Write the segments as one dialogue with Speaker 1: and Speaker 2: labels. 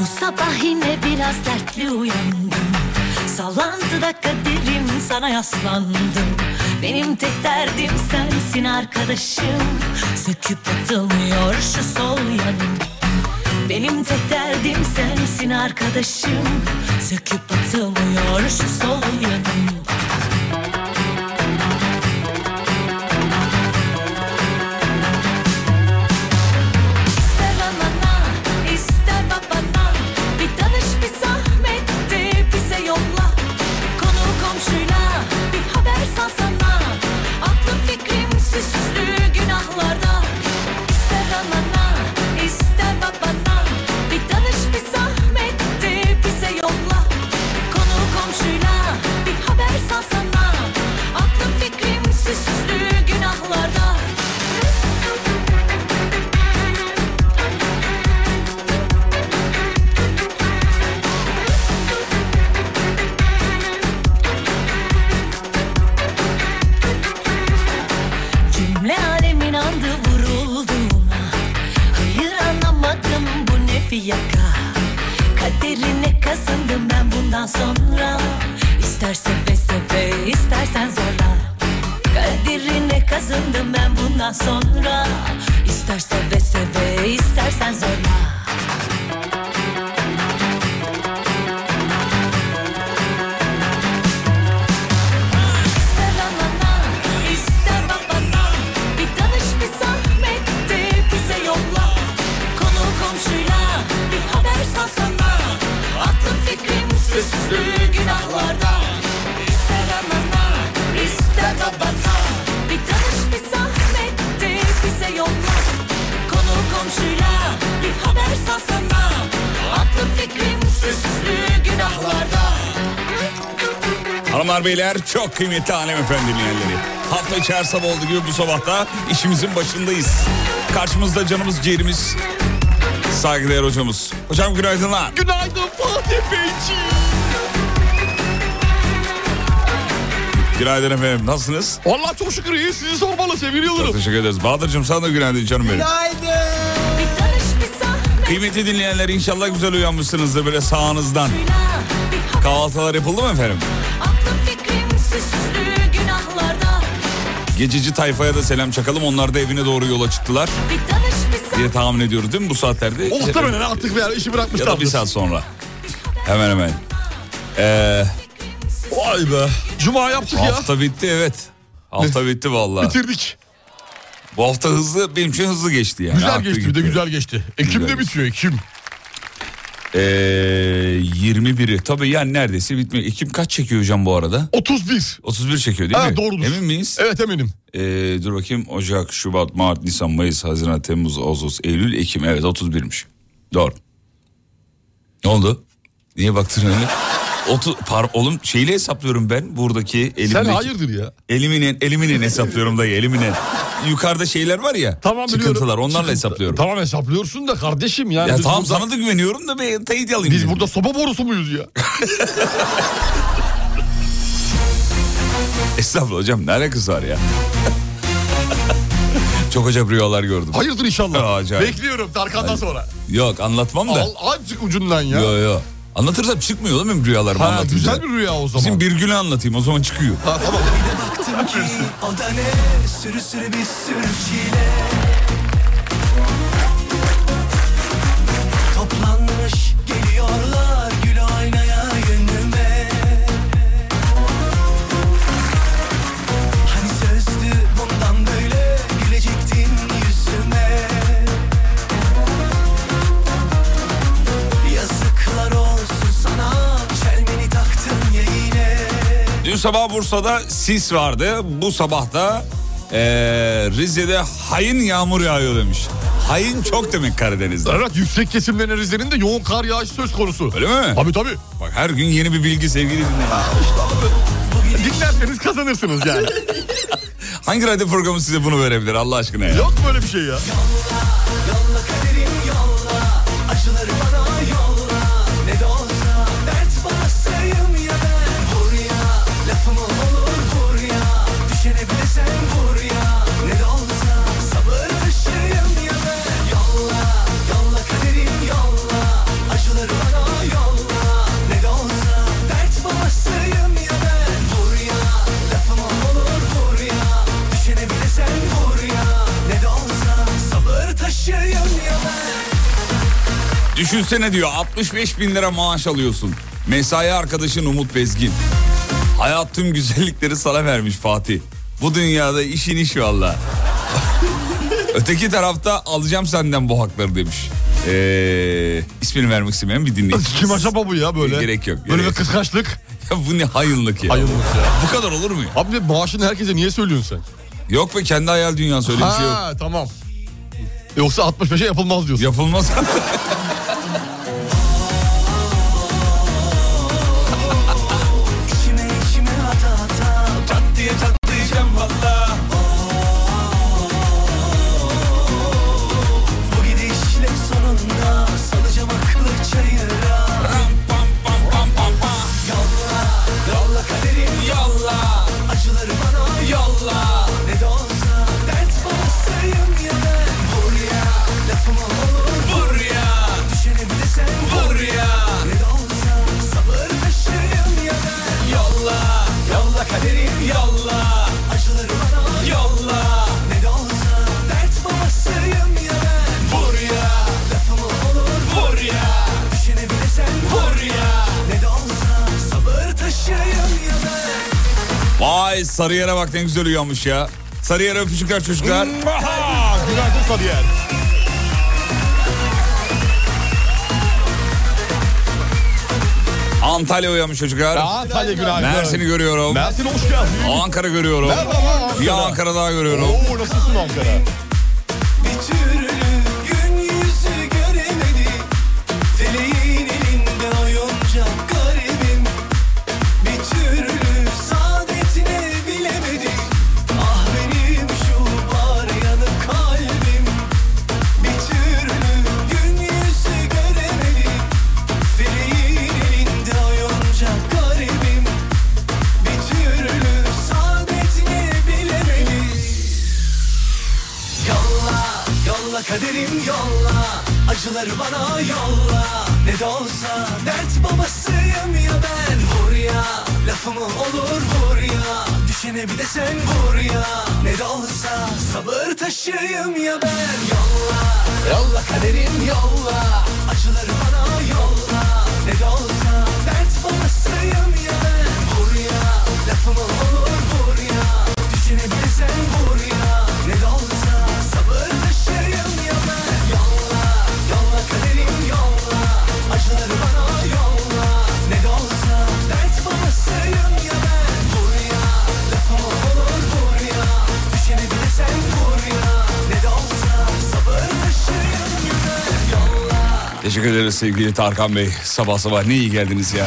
Speaker 1: Bu sabah yine biraz dertli uyandım Sallantıda kaderim sana yaslandım Benim tek derdim sensin arkadaşım Söküp atılmıyor şu sol yanım Benim tek derdim sensin arkadaşım Söküp atılmıyor şu sol yanım İster anana, ister babana Bir tanış bir zahmet de bize yolla Konu komşuyla bir haber salsana Aklım fikrim süslü günahlarda İster anana, ister babana Bir tanış bir zahmet de bize yolla Konu komşuyla bir haber salsana Aklım fikrim süslü günahlarda Cümle alem inandı vurulduğuna Hayır anlamadım bu ne fiyaka Kaderine kazındım ben bundan sonra İstersen ve seve istersen zorla Kaderine kazındım ben bundan sonra İstersen ve seve istersen zorla İster anana, ister babana Bir tanış bir zahmet de bize yolla Konu komşuyla bir haber salsana Aklım fikrim süslü günahlarda İster anana, ister babana Bir tanış bir zahmet de bize yolla Konu komşuyla bir haber salsana Aklım fikrim süslü günahlarda
Speaker 2: Hanımlar beyler çok kıymetli hanımefendi dinleyenleri. Hafta içi her sabah olduğu gibi bu sabahta işimizin başındayız. Karşımızda canımız ciğerimiz saygıdeğer hocamız. Hocam günaydınlar.
Speaker 3: Günaydın Fatih Beyciğim.
Speaker 2: Günaydın efendim nasılsınız?
Speaker 3: Valla çok şükür iyi sizi sormalı sevgili Yıldırım.
Speaker 2: Teşekkür ederiz. Bahadır'cığım sana da günaydın canım benim.
Speaker 1: Bir tanış bir zahmet
Speaker 2: Kıymetli dinleyenler inşallah güzel uyanmışsınızdır böyle sağınızdan.
Speaker 1: günah Bir hak
Speaker 2: Kahvaltılar yapıldı mı efendim?
Speaker 1: aklım fikrim süslü günahlarda
Speaker 2: Gececi tayfaya da selam çakalım. Onlar da evine doğru yola çıktılar
Speaker 1: Bir tanış bir
Speaker 2: diye tahmin ediyoruz değil mi bu saatlerde?
Speaker 3: Muhtemelen artık veya işi
Speaker 2: Ya da
Speaker 3: bırakmışlardır.
Speaker 2: bir saat sonra. Hemen hemen. Ee, vay be.
Speaker 3: Cuma yaptık ya.
Speaker 2: Hafta bitti evet. Hafta bitti vallahi.
Speaker 3: Bitirdik.
Speaker 2: Bu hafta hızlı benim için hızlı geçti yani.
Speaker 3: Güzel
Speaker 2: Aktı
Speaker 3: geçti bir de
Speaker 2: gitti.
Speaker 3: güzel geçti. Ekim'de
Speaker 2: Güzel
Speaker 3: bitiyor Ekim.
Speaker 2: Ee, 21'i tabii yani neredeyse bitmiyor. Ekim kaç çekiyor hocam bu arada?
Speaker 3: 31.
Speaker 2: 31 çekiyor değil
Speaker 3: Ha,
Speaker 2: mi?
Speaker 3: doğrudur.
Speaker 2: Emin miyiz?
Speaker 3: Evet eminim.
Speaker 2: Ee, dur bakayım Ocak, Şubat, Mart, Nisan, Mayıs, Haziran, Temmuz, Ağustos, Eylül, Ekim. Evet 31'miş. Doğru. Ne oldu? Niye baktın öyle? Otu, par, oğlum şeyle hesaplıyorum ben buradaki
Speaker 3: Sen
Speaker 2: elimdeki.
Speaker 3: hayırdır ya.
Speaker 2: Eliminen, eliminen hesaplıyorum dayı eliminen. Yukarıda şeyler var ya.
Speaker 3: Tamam biliyorum.
Speaker 2: Çıkıntılar onlarla
Speaker 3: Çıkıntı-
Speaker 2: hesaplıyorum.
Speaker 3: Tamam hesaplıyorsun da kardeşim yani.
Speaker 2: Ya
Speaker 3: biz
Speaker 2: tamam
Speaker 3: burada,
Speaker 2: sana da güveniyorum da bir teyit alayım.
Speaker 3: Biz
Speaker 2: dedim.
Speaker 3: burada soba borusu muyuz ya?
Speaker 2: Estağfurullah hocam ne alakası var ya? Çok acayip rüyalar gördüm.
Speaker 3: Hayırdır inşallah.
Speaker 2: Ya, acayip.
Speaker 3: Bekliyorum Tarkan'dan sonra.
Speaker 2: Yok anlatmam da.
Speaker 3: Al azıcık ucundan ya.
Speaker 2: Yo yo. Anlatırsam çıkmıyor oğlum benim rüyalarımı
Speaker 3: Ha,
Speaker 2: anlatınca.
Speaker 3: güzel bir rüya o zaman.
Speaker 2: Bizim bir günü anlatayım o zaman çıkıyor.
Speaker 3: Ha, tamam.
Speaker 4: Baktım ki o da ne sürü sürü bir sürü çile Toplanmış geliyorlar gül oynaya gönlüme Hani sözdü bundan böyle gülecektin yüzüme Yazıklar olsun sana çelmeni taktın ya yine
Speaker 2: Dün sabah Bursa'da sis vardı. Bu sabah da eee, Rize'de hain yağmur yağıyor demiş. Hain çok demek Karadeniz'de.
Speaker 3: Evet yüksek kesimlerin Rize'nin de yoğun kar yağışı söz konusu.
Speaker 2: Öyle mi?
Speaker 3: Tabii tabii.
Speaker 2: Bak her gün yeni bir bilgi sevgili dinleyenler.
Speaker 3: Dinlerseniz kazanırsınız yani.
Speaker 2: Hangi radyo programı size bunu verebilir Allah aşkına ya?
Speaker 3: Yok böyle bir şey ya.
Speaker 4: Yolla kaderim yolla Acıları bana yolla Ne de olsa dert bastayım ya ben Vur ya lafıma olur vur ya Düşene bile sen vur ya Ne de olsa sabır taşıyım ya ben Yolla yolla kaderim yolla Acıları bana yolla Ne de olsa dert bastayım ya ben Vur ya lafıma olur vur ya Düşene bile sen vur ya Ne de olsa sabır taşıyım ya ben
Speaker 2: Düşünsene diyor 65 bin lira maaş alıyorsun. Mesai arkadaşın Umut Bezgin. Hayat tüm güzellikleri sana vermiş Fatih. Bu dünyada işin iş valla. Öteki tarafta alacağım senden bu hakları demiş. Ee, ismini vermek istemeyen bir dinleyici.
Speaker 3: Kim acaba bu ya böyle?
Speaker 2: Gerek yok,
Speaker 3: Böyle
Speaker 2: gerek
Speaker 3: bir kıskançlık.
Speaker 2: Ya bu ne hayınlık ya.
Speaker 3: Hayırlısı ya.
Speaker 2: Bu kadar olur mu ya?
Speaker 3: Abi maaşını herkese niye söylüyorsun sen?
Speaker 2: Yok be kendi hayal dünyası öyle bir şey yok.
Speaker 3: ha tamam. Yoksa 65'e yapılmaz diyorsun.
Speaker 2: Yapılmaz.
Speaker 4: İçime içime ata ata Pat diye çatlayacağım valla Bu gidişle sonunda Salacağım aklı çayıra Yolla, yolla kaderim yolla Acıları bana yolla Ne de olsa dert bastayım ya ben Vur ya, lafıma olur Vur ya, düşene bile sen Vur ya, ne de olsa sabır taşıyım ya ben Yolla, yolla kaderim yolla Acıları bana yolla Ne de olsa dert bastayım ya ben Vur ya, lafıma olur Vur ya, düşene bile sen Vur ya, ne de olsa sabır taşıyım ya ben
Speaker 2: Vay Sarıyer'e bak ne güzel uyanmış ya. Sarıyer'e öpücükler çocuklar.
Speaker 3: Günaydın Sarıyer.
Speaker 2: Antalya uyanmış çocuklar.
Speaker 3: Antalya günaydın.
Speaker 2: Mersin'i görüyorum.
Speaker 3: Mersin hoş geldin.
Speaker 2: Ankara görüyorum.
Speaker 3: Merhaba.
Speaker 2: Bir Ankara daha görüyorum.
Speaker 3: Oo nasılsın Ankara?
Speaker 4: Bir türlü gün yüzü göremedi Feleğin elinde oyuncak garibim Bir türlü saadetine bilemedi Ah benim şu var yanık kalbim Bir türlü gün yüzü göremedi Feleğin elinde oyuncak garibim Bir türlü saadetine bilemedi Yolla, yolla kaderim yolla Acıları bana yolla Ne de olsa dert babasıyım ya ben Vur ya, lafımı olur vur ya Düşene bir de sen vur ya Ne de olsa sabır taşıyım ya ben Yolla, yolla kaderim yolla Acıları bana yolla Ne de olsa dert babasıyım ya ben Vur ya, lafımı olur vur ya Düşene bir de sen vur ya Ne de olsa sabır taşıyım ya ben Yolla, yolla kaderim yolla Acıları bana yolla Ne de olsa dert babasıyım ya ben Vur ya, lafım olur vur ya Düşene bir de sen vur ya Ne de olsa sabır taşıyım ya ben Yolla
Speaker 2: Teşekkür ederiz sevgili Tarkan Bey. Sabah sabah ne iyi geldiniz ya.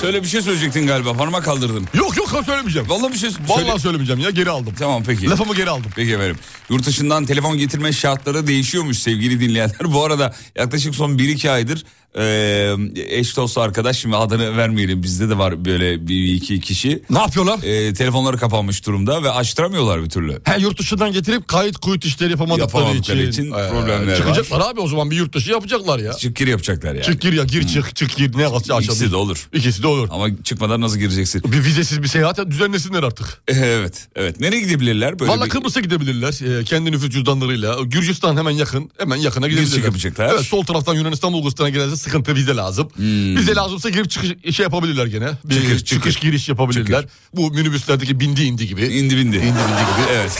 Speaker 2: Söyle bir şey söyleyecektin galiba. Parmak kaldırdın.
Speaker 3: Yok yok ha, söylemeyeceğim.
Speaker 2: Vallahi bir şey söyle.
Speaker 3: Vallahi söylemeyeceğim ya geri aldım.
Speaker 2: Tamam peki.
Speaker 3: Lafımı geri aldım.
Speaker 2: Peki efendim. Yurt dışından telefon getirme şartları değişiyormuş sevgili dinleyenler. Bu arada yaklaşık son 1-2 aydır eee eş dost arkadaş şimdi adını vermeyelim bizde de var böyle bir iki kişi.
Speaker 3: Ne yapıyorlar?
Speaker 2: Eee, telefonları kapanmış durumda ve açtıramıyorlar bir türlü.
Speaker 3: He yurt dışından getirip kayıt kuyut işleri yapamadıkları için,
Speaker 2: Yapamadıkları için
Speaker 3: Ee,
Speaker 2: problemler
Speaker 3: çıkacaklar abi o zaman bir yurt dışı yapacaklar ya. Çık,
Speaker 2: Çıkkir yapacaklar yani.
Speaker 3: gir ya gir çık çık gir ne aşağıda.
Speaker 2: Hmm. İkisi de olur.
Speaker 3: İkisi de olur.
Speaker 2: Ama çıkmadan nasıl gireceksin?
Speaker 3: Bir vizesiz bir seyahat düzenlesinler artık.
Speaker 2: evet. Evet. Nereye gidebilirler? Böyle
Speaker 3: Valla
Speaker 2: bir-
Speaker 3: Kıbrıs'a gidebilirler e, kendi nüfus cüzdanlarıyla. Gürcistan hemen yakın. Hemen yakına gidebilirler.
Speaker 2: Gürcük yapacaklar.
Speaker 3: Evet sol taraftan Yunanistan Bulgaristan'a girerse sıkıntı vize lazım.
Speaker 2: Hmm.
Speaker 3: Vize lazımsa girip çıkış şey yapabilirler gene. Bir
Speaker 2: Çıkır, çıkır.
Speaker 3: çıkış giriş yapabilirler. Bu minibüslerdeki bindi indi gibi.
Speaker 2: İndi bindi.
Speaker 3: İndi bindi gibi evet.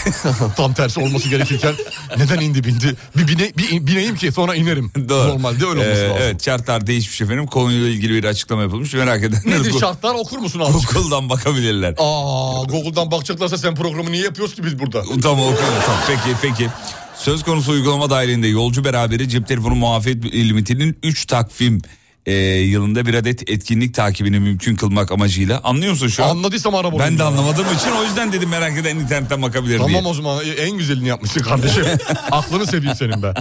Speaker 3: Tam tersi olması gerekirken neden indi bindi? Bir, bine, bir bineyim ki sonra inerim.
Speaker 2: Doğru.
Speaker 3: Normalde öyle olması
Speaker 2: Ee,
Speaker 3: lazım.
Speaker 2: Evet şartlar değişmiş efendim. Konuyla ilgili bir açıklama yapılmış. Merak edenler
Speaker 3: Nedir
Speaker 2: Gu-
Speaker 3: şartlar okur musun azıcık?
Speaker 2: Google'dan bakabilirler.
Speaker 3: Aa Google'dan bakacaklarsa sen programı niye yapıyoruz ki biz burada?
Speaker 2: Tamam o kadar. Tamam, Peki peki. Söz konusu uygulama dahilinde yolcu beraberi cep telefonu muafiyet limitinin 3 takvim e, yılında bir adet etkinlik takibini mümkün kılmak amacıyla. Anlıyor musun şu an?
Speaker 3: Anladıysam ara bunu.
Speaker 2: ben de anlamadığım için o yüzden dedim merak eden internetten bakabilir diye.
Speaker 3: Tamam o zaman E, en güzelini yapmışsın kardeşim. Aklını seveyim senin be.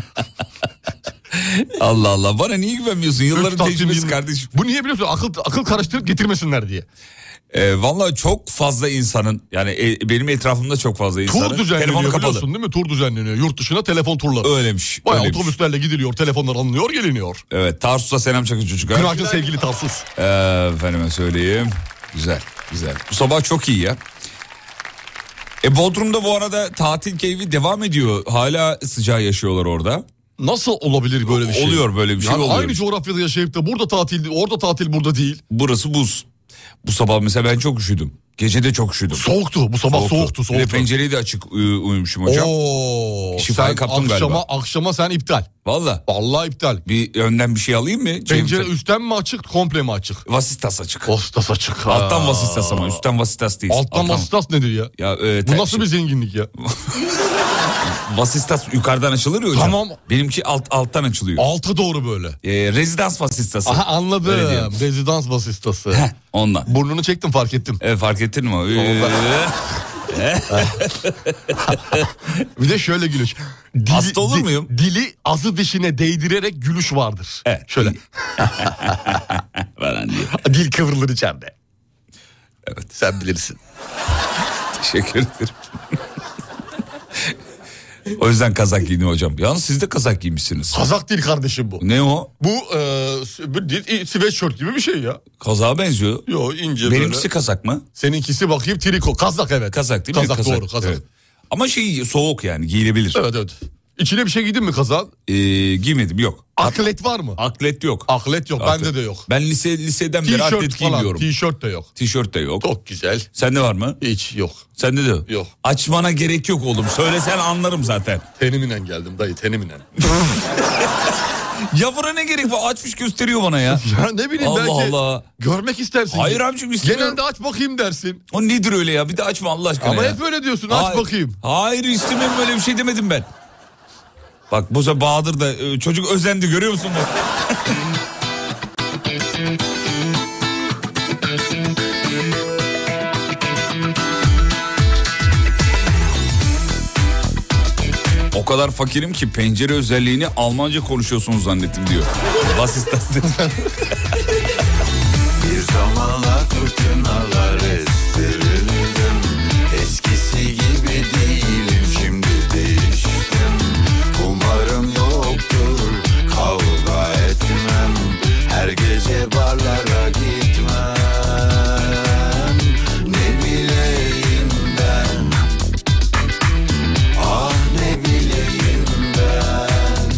Speaker 2: Allah Allah bana niye güvenmiyorsun?
Speaker 3: Üç
Speaker 2: Yılların
Speaker 3: takvim
Speaker 2: tecrübesi
Speaker 3: yıl-
Speaker 2: kardeşim.
Speaker 3: Bu niye biliyorsun? Akıl, akıl karıştırıp getirmesinler diye.
Speaker 2: E, Valla çok fazla insanın yani e, benim etrafımda çok fazla insanın.
Speaker 3: Tur düzenleniyor
Speaker 2: telefonu kapalı.
Speaker 3: biliyorsun değil mi? Tur düzenleniyor. Yurt dışına telefon turları.
Speaker 2: Öylemiş.
Speaker 3: Bayağı
Speaker 2: öylemiş.
Speaker 3: otobüslerle gidiliyor, telefonlar alınıyor, geliniyor.
Speaker 2: Evet Tarsus'a selam çakın çocuklar.
Speaker 3: Günaydın sevgili Tarsus.
Speaker 2: Ee, efendime söyleyeyim. Güzel, güzel. Bu sabah çok iyi ya. E Bodrum'da bu arada tatil keyfi devam ediyor. Hala sıcağı yaşıyorlar orada.
Speaker 3: Nasıl olabilir böyle bir şey?
Speaker 2: Oluyor böyle bir şey
Speaker 3: Yani
Speaker 2: oluyor.
Speaker 3: aynı coğrafyada yaşayıp da burada tatil, orada tatil burada değil.
Speaker 2: Burası buz. Bu sabah mesela ben çok üşüdüm. Gece de çok üşüdüm.
Speaker 3: Soğuktu bu sabah soğuktu soğuktu.
Speaker 2: Bir de pencereyi de açık uy- uyumuşum hocam.
Speaker 3: Oo,
Speaker 2: Şifayı
Speaker 3: sen
Speaker 2: kaptın
Speaker 3: akşama,
Speaker 2: galiba.
Speaker 3: Akşama sen iptal.
Speaker 2: Valla
Speaker 3: Vallahi iptal.
Speaker 2: bir önden bir şey alayım mı? Cem-
Speaker 3: Pencere üstten mi açık, komple mi açık?
Speaker 2: Vasistas açık.
Speaker 3: Vasıtas açık. ha.
Speaker 2: Alttan vasistas ama üstten vasistas değil.
Speaker 3: Alttan vasıtas nedir ya?
Speaker 2: Ya, e,
Speaker 3: Bu
Speaker 2: te-
Speaker 3: nasıl bir zenginlik ya?
Speaker 2: Vasistas yukarıdan açılır ya hocam.
Speaker 3: Tamam.
Speaker 2: Benimki alt, alttan açılıyor.
Speaker 3: Alta doğru böyle.
Speaker 2: E, rezidans vasistası.
Speaker 3: Aha
Speaker 2: Öyle
Speaker 3: anladım.
Speaker 2: diyelim.
Speaker 3: Rezidans vasıtası.
Speaker 2: Heh, ondan.
Speaker 3: Burnunu çektim fark ettim.
Speaker 2: E, fark ettin mi? Ee,
Speaker 3: Bir de şöyle gülüş. Dili,
Speaker 2: Hasta olur muyum?
Speaker 3: Dili azı dişine değdirerek gülüş vardır.
Speaker 2: Evet.
Speaker 3: Şöyle
Speaker 2: falan diye.
Speaker 3: dil kıvrılır içeride.
Speaker 2: Evet.
Speaker 3: Sen bilirsin.
Speaker 2: Teşekkür ederim. o yüzden kazak giydim hocam. Yalnız siz de kazak giymişsiniz.
Speaker 3: Kazak dil kardeşim bu.
Speaker 2: Ne o?
Speaker 3: Bu e, s- bu dil- i- sweatshirt gibi bir şey ya.
Speaker 2: Kazağa benziyor.
Speaker 3: Yo ince
Speaker 2: Benimkisi
Speaker 3: böyle.
Speaker 2: kazak mı?
Speaker 3: Seninkisi bakayım triko. Kazak evet.
Speaker 2: Kazak değil mi?
Speaker 3: kazak, doğru kazak.
Speaker 2: Evet.
Speaker 3: Evet.
Speaker 2: Ama şey soğuk yani giyilebilir.
Speaker 3: evet İçine bir şey giydin mi kazak?
Speaker 2: Ee, giymedim yok.
Speaker 3: Atlet var mı?
Speaker 2: Aklet yok.
Speaker 3: Ah. Aklet yok.
Speaker 2: Aklet.
Speaker 3: Bende de yok.
Speaker 2: Ben lise liseden beri
Speaker 3: T-shirt
Speaker 2: atlet
Speaker 3: falan.
Speaker 2: giymiyorum.
Speaker 3: T-shirt de yok.
Speaker 2: Tişört de yok.
Speaker 3: Çok güzel.
Speaker 2: Sende var mı?
Speaker 3: Hiç yok.
Speaker 2: Sende de yok.
Speaker 3: Yok.
Speaker 2: Açmana gerek yok oğlum. Söylesen anlarım zaten.
Speaker 3: Teniminen geldim dayı teniminen.
Speaker 2: Yavura ne gerek var? Açmış gösteriyor bana ya.
Speaker 3: Ya ne bileyim
Speaker 2: Allah
Speaker 3: belki
Speaker 2: Allah.
Speaker 3: görmek istersin.
Speaker 2: Hayır amcım, istemiyorum.
Speaker 3: Genelde aç bakayım dersin.
Speaker 2: O nedir öyle ya? Bir de açma Allah aşkına
Speaker 3: Ama
Speaker 2: ya.
Speaker 3: hep öyle diyorsun aç
Speaker 2: Hayır-
Speaker 3: bakayım.
Speaker 2: Hayır istemiyorum böyle bir şey demedim ben. Bak bu sefer Bahadır da e, çocuk özendi görüyor musun? bak? O kadar fakirim ki pencere özelliğini Almanca konuşuyorsunuz zannettim diyor. Vasistas dedi.
Speaker 4: Bir zamanlar fırtınalar estirildim Eskisi gibi değilim şimdi değiştim Umarım yoktur kavga etmem Her gece barlara gitmem Ne bileyim ben Ah ne bileyim ben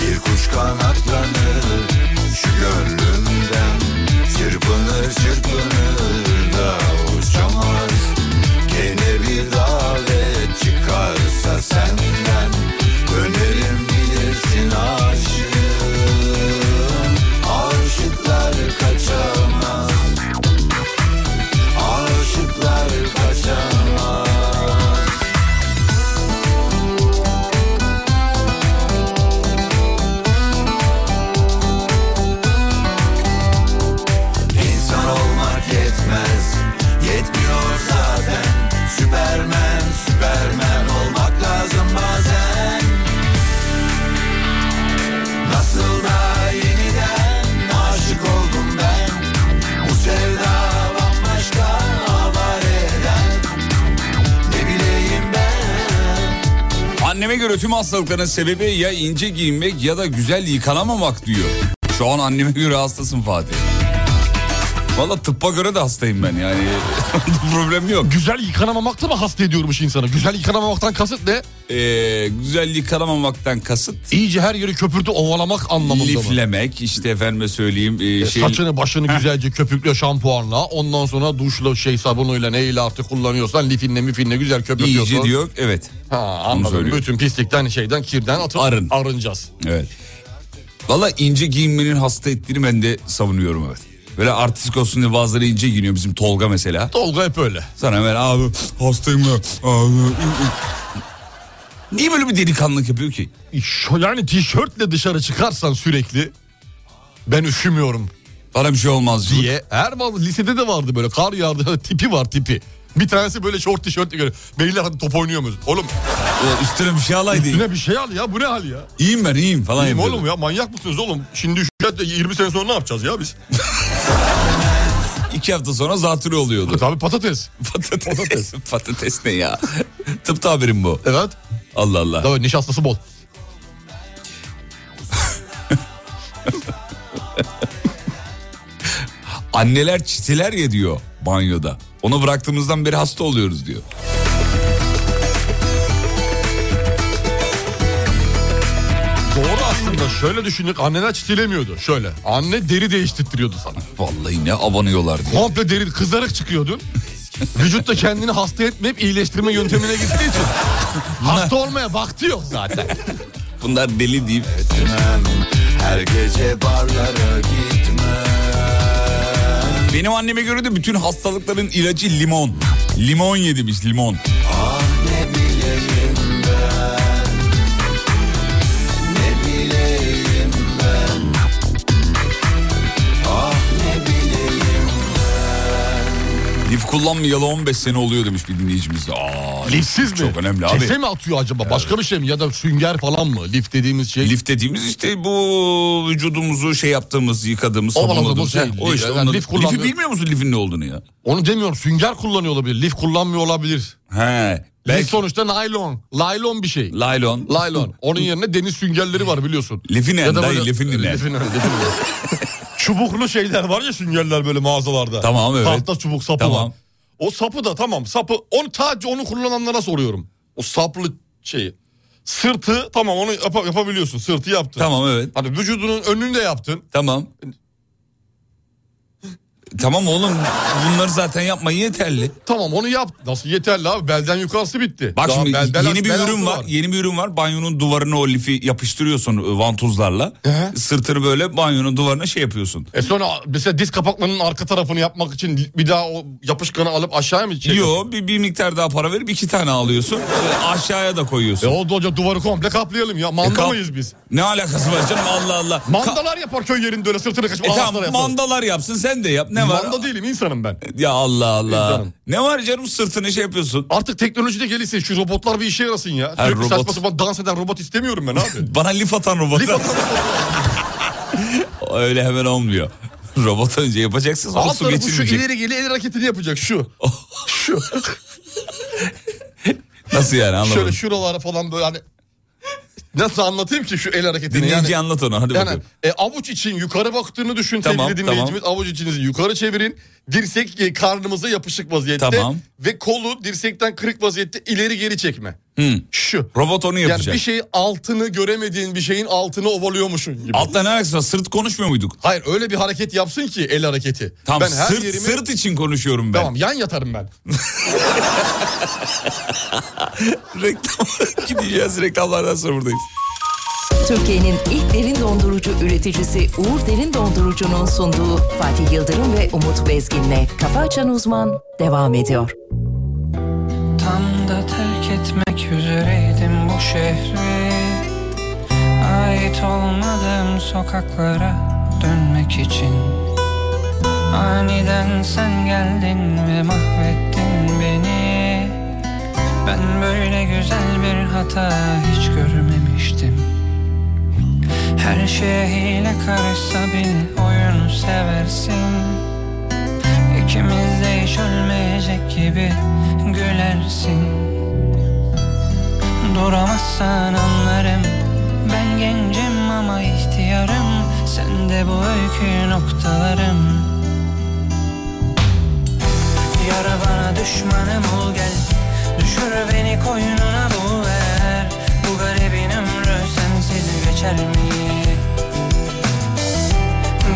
Speaker 4: bir kuş kanatlanır şu gönlümden Çırpınır çırpınır da uçamaz Gene bir davet çıkarsa senden Dönerim bilirsin aşığım Aşıklar kaçamaz Aşıklar kaçamaz İnsan olmak yetmez Yetmiyor zaten Süpermen, süpermen olmak lazım bazen Nasıl da yeniden aşık oldum ben Bu sevda bambaşka avare eden Ne bileyim ben
Speaker 2: Anneme göre tüm hastalıkların sebebi ya ince giyinmek ya da güzel yıkanamamak diyor. Şu an anneme göre hastasın Fatih. Valla tıbba göre de hastayım ben yani. Problem yok.
Speaker 3: Güzel yıkanamamak da mı hasta ediyormuş insanı? Güzel yıkanamamaktan kasıt ne?
Speaker 2: Ee, güzel yıkanamamaktan kasıt.
Speaker 3: İyice her yeri köpürtü ovalamak anlamında mı?
Speaker 2: Liflemek işte efendime söyleyeyim. e,
Speaker 3: E,
Speaker 2: şey,
Speaker 3: Saçını başını güzelce köpükle şampuanla ondan sonra duşla şey sabunuyla neyle artık kullanıyorsan lifinle mifinle güzel köpürtüyorsun.
Speaker 2: iyice diyor. Evet.
Speaker 3: Ha, anladım.
Speaker 2: söylüyor.
Speaker 3: Bütün pislikten şeyden kirden atıp
Speaker 2: Arın.
Speaker 3: arınacağız.
Speaker 2: Evet. Valla ince giyinmenin hasta ettiğini ben de savunuyorum evet. Böyle artistik olsun diye bazıları ince giyiniyor bizim Tolga mesela.
Speaker 3: Tolga hep öyle.
Speaker 2: Sana hemen abi hastayım ya. Abi. Niye böyle bir delikanlılık yapıyor ki?
Speaker 3: E, Şu- Yani tişörtle dışarı çıkarsan sürekli ben üşümüyorum
Speaker 2: Bana bir şey olmaz diye.
Speaker 3: diye. Her bazı lisede de vardı böyle kar yağdı tipi var tipi. Bir tanesi böyle şort tişörtle göre. Beyler hadi top oynuyor muyuz? Oğlum
Speaker 2: Ee, Üstüne bir şey alaydı.
Speaker 3: üstüne bir şey al ya bu ne hal ya?
Speaker 2: İyiyim ben iyiyim falan
Speaker 3: İyiyim
Speaker 2: yapıyordu.
Speaker 3: oğlum ya manyak mısınız oğlum? Şimdi üşüyerek 20 sene sonra ne yapacağız ya biz?
Speaker 2: İki hafta sonra zatürre oluyordu.
Speaker 3: Tabii patates.
Speaker 2: Patates. Patates. ne ya? Tıpta haberim bu.
Speaker 3: Evet.
Speaker 2: Allah Allah.
Speaker 3: Tabii nişastası bol.
Speaker 2: Anneler çiteler ya diyor banyoda. Onu bıraktığımızdan beri hasta oluyoruz diyor.
Speaker 3: Doğru aslında şöyle düşündük anneler çitilemiyordu şöyle. Anne deri değiştirtiyordu sana.
Speaker 2: Vallahi ne abanıyorlar diyor.
Speaker 3: Komple deri kızarık çıkıyordun. Vücut da kendini hasta etmeyip iyileştirme yöntemine gittiği için. hasta olmaya vakti yok zaten.
Speaker 2: Bunlar deli deyip
Speaker 5: Gitmem, Her gece barlara gitmem
Speaker 2: Benim anneme göre de bütün hastalıkların ilacı limon. Limon yedimiş limon. Lif kullanmayalı 15 sene oluyor demiş bir dinleyicimiz de. Aa,
Speaker 3: Lifsiz mi?
Speaker 2: Çok önemli abi.
Speaker 3: Kese mi atıyor acaba? Başka bir şey mi? Ya da sünger falan mı? Lif dediğimiz şey.
Speaker 2: Lif dediğimiz işte bu vücudumuzu şey yaptığımız, yıkadığımız,
Speaker 3: Havalandırma
Speaker 2: sabunladığımız.
Speaker 3: şey.
Speaker 2: Ha, O işte
Speaker 3: Yani
Speaker 2: onların-
Speaker 3: lif kullanmıyor-
Speaker 2: Lifi bilmiyor musun lifin ne olduğunu ya?
Speaker 3: Onu demiyorum. Sünger kullanıyor olabilir. Lif kullanmıyor olabilir.
Speaker 2: He.
Speaker 3: Lif
Speaker 2: Belki
Speaker 3: sonuçta naylon. Laylon bir şey.
Speaker 2: laylon.
Speaker 3: Laylon. Onun yerine deniz süngerleri var biliyorsun.
Speaker 2: Lifin
Speaker 3: Ya da
Speaker 2: en,
Speaker 3: böyle- e,
Speaker 2: dayı lifin dinle.
Speaker 3: Lifin en, lifin en. Çubuklu şeyler var ya süngerler böyle mağazalarda.
Speaker 2: Tamam, evet.
Speaker 3: Tahta çubuk sapı
Speaker 2: Tamam.
Speaker 3: var. O sapı da tamam sapı. Onu sadece onu kullananlara soruyorum. O saplı şeyi. Sırtı tamam onu yapa- yapabiliyorsun. Sırtı yaptın.
Speaker 2: Tamam evet.
Speaker 3: Hani vücudunun önünü de yaptın.
Speaker 2: Tamam. Tamam oğlum bunları zaten yapmayın yeterli.
Speaker 3: Tamam onu yap. Nasıl yeterli abi? Belden yukarısı bitti.
Speaker 2: Bak
Speaker 3: Daha
Speaker 2: şimdi
Speaker 3: belden-
Speaker 2: yeni bir
Speaker 3: bel altı
Speaker 2: ürün var. Yeni bir ürün var. Banyonun duvarına o lifi yapıştırıyorsun e, vantuzlarla.
Speaker 3: Ehe.
Speaker 2: Sırtını böyle banyonun duvarına şey yapıyorsun.
Speaker 3: E sonra mesela diz kapaklarının arka tarafını yapmak için bir daha o yapışkanı alıp aşağıya mı çekiyorsun?
Speaker 2: Yo bir, bir miktar daha para verip iki tane alıyorsun. E, Aşağıya da
Speaker 3: E
Speaker 2: koyuyorsun.
Speaker 3: oldu hoca duvarı komple kaplayalım ya.
Speaker 2: E,
Speaker 3: Manda
Speaker 2: kap-
Speaker 3: mıyız biz?
Speaker 2: Ne alakası var canım Allah Allah. Ka-
Speaker 3: Mandalar yapar köy yerinde öyle sırtını kaçıp
Speaker 2: E
Speaker 3: ağızlara
Speaker 2: tamam
Speaker 3: yapar.
Speaker 2: mandalar yapsın sen de yap. Ne var?
Speaker 3: Manda değilim insanım ben.
Speaker 2: Ya Allah Allah.
Speaker 3: İnsanım.
Speaker 2: Ne var canım sırtını şey yapıyorsun.
Speaker 3: Artık teknoloji de gelirse şu robotlar bir işe yarasın ya.
Speaker 2: Ha,
Speaker 3: Sürekli saçma
Speaker 2: robot.
Speaker 3: sapan dans eden robot istemiyorum ben abi.
Speaker 2: Bana lif atan robot.
Speaker 3: Lif atan
Speaker 2: Öyle hemen olmuyor. Robot önce yapacaksın sonra
Speaker 3: Alt
Speaker 2: su
Speaker 3: tarafı şu
Speaker 2: geçirmeyecek.
Speaker 3: ileri geri el hareketini yapacak şu. şu.
Speaker 2: Nasıl yani anlamadım.
Speaker 3: Şöyle şuralara falan böyle hani. Nasıl anlatayım ki şu el hareketini
Speaker 2: Dinleyici
Speaker 3: yani.
Speaker 2: anlat onu hadi
Speaker 3: Yani
Speaker 2: bakalım.
Speaker 3: e, avuç için yukarı baktığını düşün
Speaker 2: Tamam,
Speaker 3: sevgili dinleyicimiz. Avuç içinizi yukarı çevirin. Dirsek e, karnımıza yapışık vaziyette.
Speaker 2: Tamam.
Speaker 3: Ve kolu dirsekten kırık vaziyette ileri geri çekme.
Speaker 2: Hı.
Speaker 3: Şu.
Speaker 2: Robot onu
Speaker 3: Yani
Speaker 2: yapacak.
Speaker 3: bir şey- şeyi altını göremediğin bir şeyin altını ovalıyormuşsun gibi.
Speaker 2: Altta ne alakası var? Sırt konuşmuyor muyduk?
Speaker 3: Hayır öyle bir hareket yapsın ki el hareketi.
Speaker 2: Tamam
Speaker 3: ben her
Speaker 2: sırt,
Speaker 3: yerimi...
Speaker 2: sırt için konuşuyorum ben.
Speaker 3: Tamam yan yatarım ben.
Speaker 2: Reklam gideceğiz reklamlardan sonra buradayız.
Speaker 6: Türkiye'nin ilk derin dondurucu üreticisi Uğur Derin Dondurucu'nun sunduğu Fatih Yıldırım ve Umut Bezgin'le Kafa Açan Uzman devam ediyor.
Speaker 7: Tam da terk etmek üzereydim bu şehri Ait olmadığım sokaklara dönmek için Aniden sen geldin ve mahvettin beni Ben böyle güzel bir hata hiç görmemiştim Her şeye hile karışsa bile oyunu seversin İkimiz de hiç ölmeyecek gibi gülersin Duramazsan anlarım Ben gencim ama ihtiyarım Sen de bu öykü noktalarım
Speaker 8: Yara bana düşmanım ol gel Düşür beni koynuna bu ver Bu garibin ömrü sensiz geçer mi?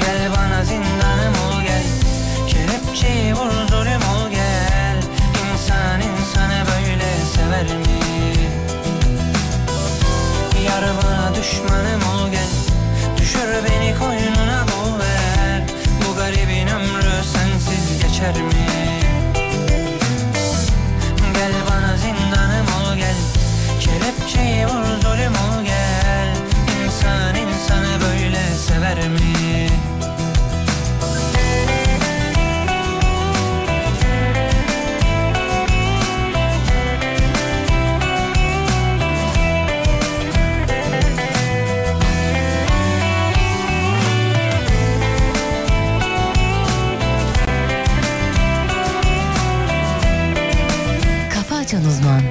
Speaker 8: Gel bana zindanım ol gel Kelepçeyi vur zulüm ol gel İnsan insanı böyle sever mi? Yar bana düşmanım ol gel Düşür beni koynuna bu ver Bu garibin ömrü sensiz geçer mi? Gel bana zindanım ol gel Kelepçeyi vur zulüm ol gel İnsan insanı böyle sever mi?
Speaker 6: Kafa Açan Uzman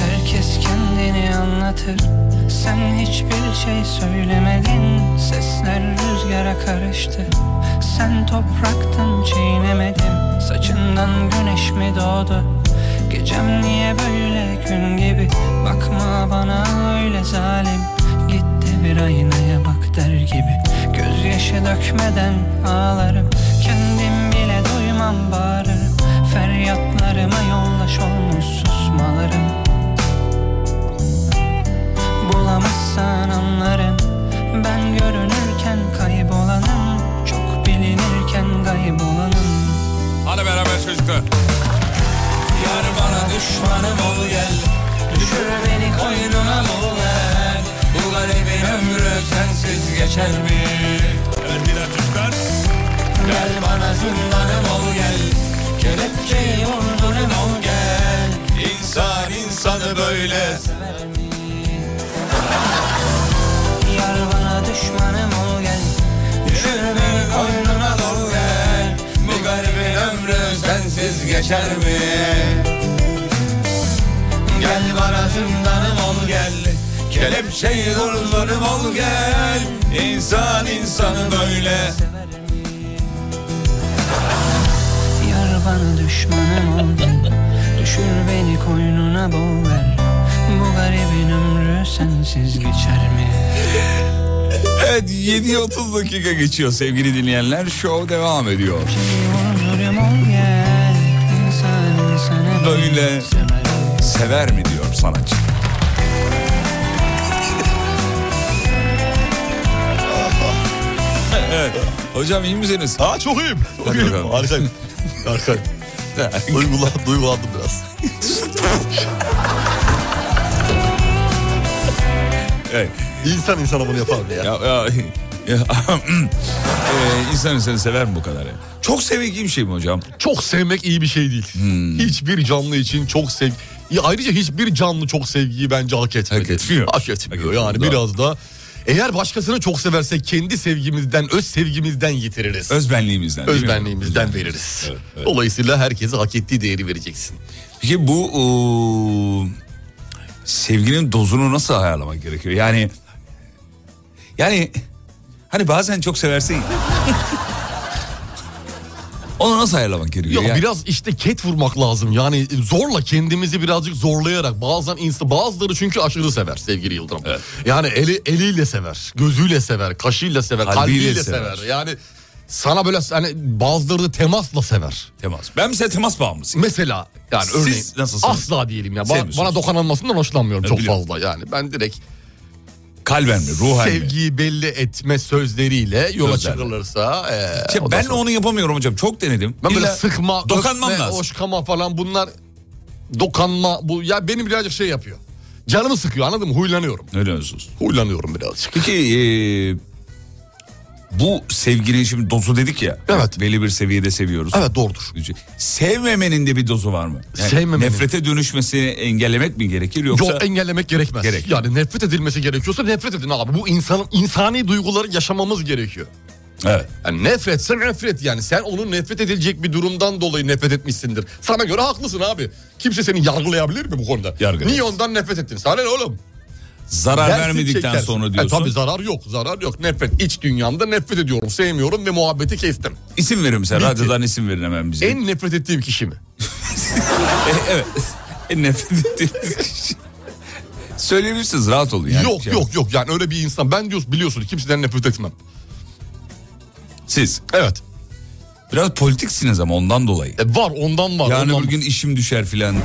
Speaker 8: Herkes kendini anlatır Sen hiçbir şey söylemedin Sesler rüzgara karıştı Sen topraktan çiğnemedin Saçından güneş mi doğdu Gecem niye böyle gün gibi Bakma bana öyle zalim Git de bir aynaya bak der gibi Gözyaşı dökmeden ağlarım Kendim bile duymam bağırırım Feryatlarıma yollaş olmuş susmalarım Bulamazsan anlarım Ben görünürken kaybolanım Çok bilinirken kaybolanım
Speaker 2: Hadi beraber çocuklar.
Speaker 8: Yar bana düşmanım ol gel Düşür beni koynuna bul ver Bu garibin ömrü sensiz geçer mi? Gel bana zindanım ol gel Kelepçeyi vurdurun ol gel
Speaker 2: İnsan insanı böyle.
Speaker 8: Yar bana düşmanım ol gel Düşür beni koynuna bul ver
Speaker 2: Bu garibin ömrü sensiz geçer mi?
Speaker 8: Gel bana zindanım ol gel
Speaker 2: Kelepçeyi vurdurum ol gel. İnsan insanı böyle.
Speaker 8: Yar bana düşmanım ol gel Düşür beni koynuna boğver Bu garibin ömrü sensiz geçer mi?
Speaker 2: Evet 7.30 dakika geçiyor sevgili dinleyenler. Show devam ediyor.
Speaker 8: Şeyi huzurum ol gel İnsan insana
Speaker 2: Böyle.
Speaker 8: sever.
Speaker 2: Sever mi diyor sanatçı. evet. Hocam iyi misiniz?
Speaker 3: Ha çok iyiyim. Çok
Speaker 2: Hadi
Speaker 3: iyiyim.
Speaker 2: bakalım.
Speaker 3: Harikayım. Harikayım. Duygula- duygulandım biraz.
Speaker 2: Evet.
Speaker 3: İnsan insana bunu yapar mı ya?
Speaker 2: Ya, ya, ya, Ee, insan insanı sever mi bu kadar? ya? Çok sevdiğim şey mi hocam?
Speaker 3: Çok sevmek iyi bir şey değil.
Speaker 2: Hmm.
Speaker 3: Hiçbir canlı için çok sev... Ya ayrıca hiçbir canlı çok sevgiyi bence hak etmedi.
Speaker 2: Hak etmiyor.
Speaker 3: Hak etmiyor.
Speaker 2: Hak etmiyor,
Speaker 3: yani
Speaker 2: doğru.
Speaker 3: biraz da eğer başkasını çok seversek kendi sevgimizden, öz sevgimizden yitiririz.
Speaker 2: Özbenliğimizden değil mi?
Speaker 3: Özbenliğimizden veririz.
Speaker 2: Evet, evet.
Speaker 3: Dolayısıyla herkese hak ettiği değeri vereceksin.
Speaker 2: Peki bu ıı, sevginin dozunu nasıl ayarlamak gerekiyor? Yani yani hani bazen çok seversin. ya. Onu nasıl ayarlamak gerekiyor?
Speaker 3: Ya
Speaker 2: Ya-
Speaker 3: biraz işte ket vurmak lazım. Yani zorla kendimizi birazcık zorlayarak bazen insta bazıları çünkü aşırı sever sevgili Yıldırım.
Speaker 2: Evet.
Speaker 3: Yani eli eliyle sever, gözüyle sever, kaşıyla sever,
Speaker 2: Kalbiyle
Speaker 3: kalbiyle,
Speaker 2: sever.
Speaker 3: sever. Yani sana böyle hani bazıları da temasla sever.
Speaker 2: temas. Ben mesela temas bağımlısıyım.
Speaker 3: Mesela yani
Speaker 2: Siz
Speaker 3: örneğin
Speaker 2: nasılsınız?
Speaker 3: asla diyelim ya. Ba-
Speaker 2: Sevmiyorsunuz. E,
Speaker 3: bana dokunulmasından hoşlanmıyorum çok
Speaker 2: biliyorum.
Speaker 3: fazla yani. Ben direkt
Speaker 2: Kalben mi, ruhen mi?
Speaker 3: sevgiyi belli etme sözleriyle yola
Speaker 2: Sözlerle.
Speaker 3: çıkılırsa ee,
Speaker 2: Şey,
Speaker 3: o da
Speaker 2: ben
Speaker 3: sonra-
Speaker 2: onu yapamıyorum hocam. Çok denedim.
Speaker 3: Ben böyle
Speaker 2: İlla
Speaker 3: sıkma,
Speaker 2: dokanmam
Speaker 3: öpme,
Speaker 2: lazım.
Speaker 3: hoşkama falan bunlar dokanma bu ya benim birazcık şey yapıyor. Canımı sıkıyor anladın mı? Huylanıyorum.
Speaker 2: Öyle olsun.
Speaker 3: Huylanıyorum birazcık.
Speaker 2: Peki eee, bu sevginin şimdi dozu dedik ya.
Speaker 3: Evet.
Speaker 2: Belli bir seviyede seviyoruz.
Speaker 3: Evet doğrudur.
Speaker 2: Sevmemenin de bir dozu var mı?
Speaker 3: Sevmemenin.
Speaker 2: Nefrete dönüşmesini engellemek mi gerekir yoksa?
Speaker 3: Yok engellemek gerekmez.
Speaker 2: Gerek.
Speaker 3: Yani nefret edilmesi gerekiyorsa nefret edin abi. Bu insanın insani duyguları yaşamamız gerekiyor.
Speaker 2: Evet.
Speaker 3: Yani nefretse nefret yani. Sen onun nefret edilecek bir durumdan dolayı nefret etmişsindir. Sana göre haklısın abi. Kimse seni yargılayabilir mi bu konuda?
Speaker 2: Yargılayamaz.
Speaker 3: Niye ondan nefret ettin? Sana ne oğlum?
Speaker 2: Zarar
Speaker 3: Dersin,
Speaker 2: vermedikten
Speaker 3: çekersin.
Speaker 2: sonra diyorsun.
Speaker 3: E, tabii zarar yok zarar yok. Nefret iç dünyamda nefret ediyorum sevmiyorum ve muhabbeti kestim.
Speaker 2: İsim verir mesela.
Speaker 3: Bitti.
Speaker 2: Radyodan isim verin hemen bize.
Speaker 3: En nefret ettiğim kişi mi?
Speaker 2: E, evet. En E, nefret ettiğiniz kişi. Söyleyebilirsiniz rahat olun yani.
Speaker 3: yok
Speaker 2: Şey-
Speaker 3: yok yok yani öyle bir insan ben diyorsun biliyorsun kimseden nefret etmem.
Speaker 2: Siz
Speaker 3: Evet
Speaker 2: biraz politiksiniz ama ondan dolayı.
Speaker 3: e, var ondan var.
Speaker 2: Yani
Speaker 3: ondan
Speaker 2: bugün işim düşer filan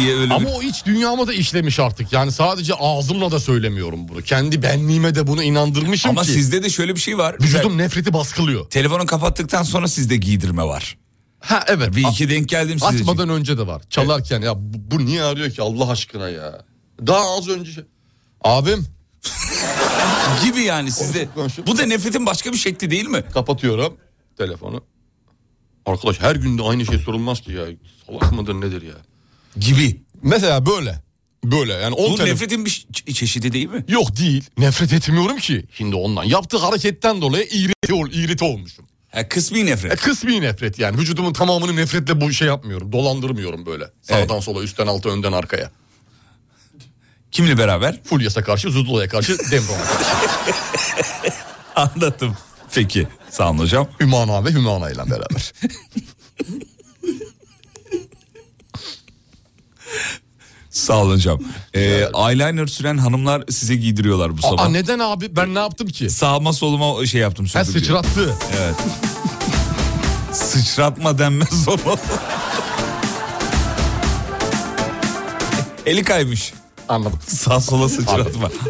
Speaker 2: diye öyle
Speaker 3: Ama
Speaker 2: bir...
Speaker 3: o iç dünyama da işlemiş artık. Yani sadece ağzımla da söylemiyorum bunu. Kendi benliğime de bunu inandırmışım
Speaker 2: Ama
Speaker 3: ki.
Speaker 2: sizde de şöyle bir şey var.
Speaker 3: Vücudum
Speaker 2: Mesela
Speaker 3: nefreti baskılıyor.
Speaker 2: Telefonu kapattıktan sonra sizde giydirme var.
Speaker 3: Ha evet.
Speaker 2: Bir
Speaker 3: A-
Speaker 2: iki denk geldim size.
Speaker 3: Açmadan önce de var. Çalarken ya bu, bu niye arıyor ki Allah aşkına ya. Daha az önce. şey- Abim
Speaker 2: Gibi yani sizde.
Speaker 3: konuşup-
Speaker 2: Bu da nefretin başka bir şekli değil mi?
Speaker 3: kapatıyorum telefonu. Arkadaş her gün de aynı şey sorulmaz ki ya. Salak mıdır nedir ya.
Speaker 2: Gibi.
Speaker 3: Mesela böyle. Böyle yani 10
Speaker 2: Bu
Speaker 3: telefon.
Speaker 2: nefretin bir ç- çeşidi değil mi?
Speaker 3: Yok değil. Nefret etmiyorum ki. Şimdi ondan. Yaptığı hareketten dolayı iğreti, ol, iğreti olmuşum.
Speaker 2: Ha, kısmi
Speaker 3: E,
Speaker 2: nefret.
Speaker 3: kısmi nefret yani. Vücudumun tamamını nefretle bu şey yapmıyorum. Dolandırmıyorum böyle. Sağdan sola, üstten alta, önden arkaya.
Speaker 2: Kimle beraber?
Speaker 3: Fulyas'a karşı, Zudula'ya karşı, Demron'a karşı.
Speaker 2: Anlattım. Peki. Sağ olun hocam.
Speaker 3: Hümana ve Hümana ile beraber.
Speaker 2: Sağ olun hocam. Ee, eyeliner süren hanımlar size giydiriyorlar bu sabah.
Speaker 3: Aa neden abi? Ben ne yaptım ki?
Speaker 2: Sağıma soluma şey yaptım.
Speaker 3: Ha
Speaker 2: sürdüm diyor.
Speaker 3: sıçrattı.
Speaker 2: Sıçratma denmez ona. Eli kaymış.
Speaker 3: Anladım.
Speaker 2: Sağ sola sıçratma.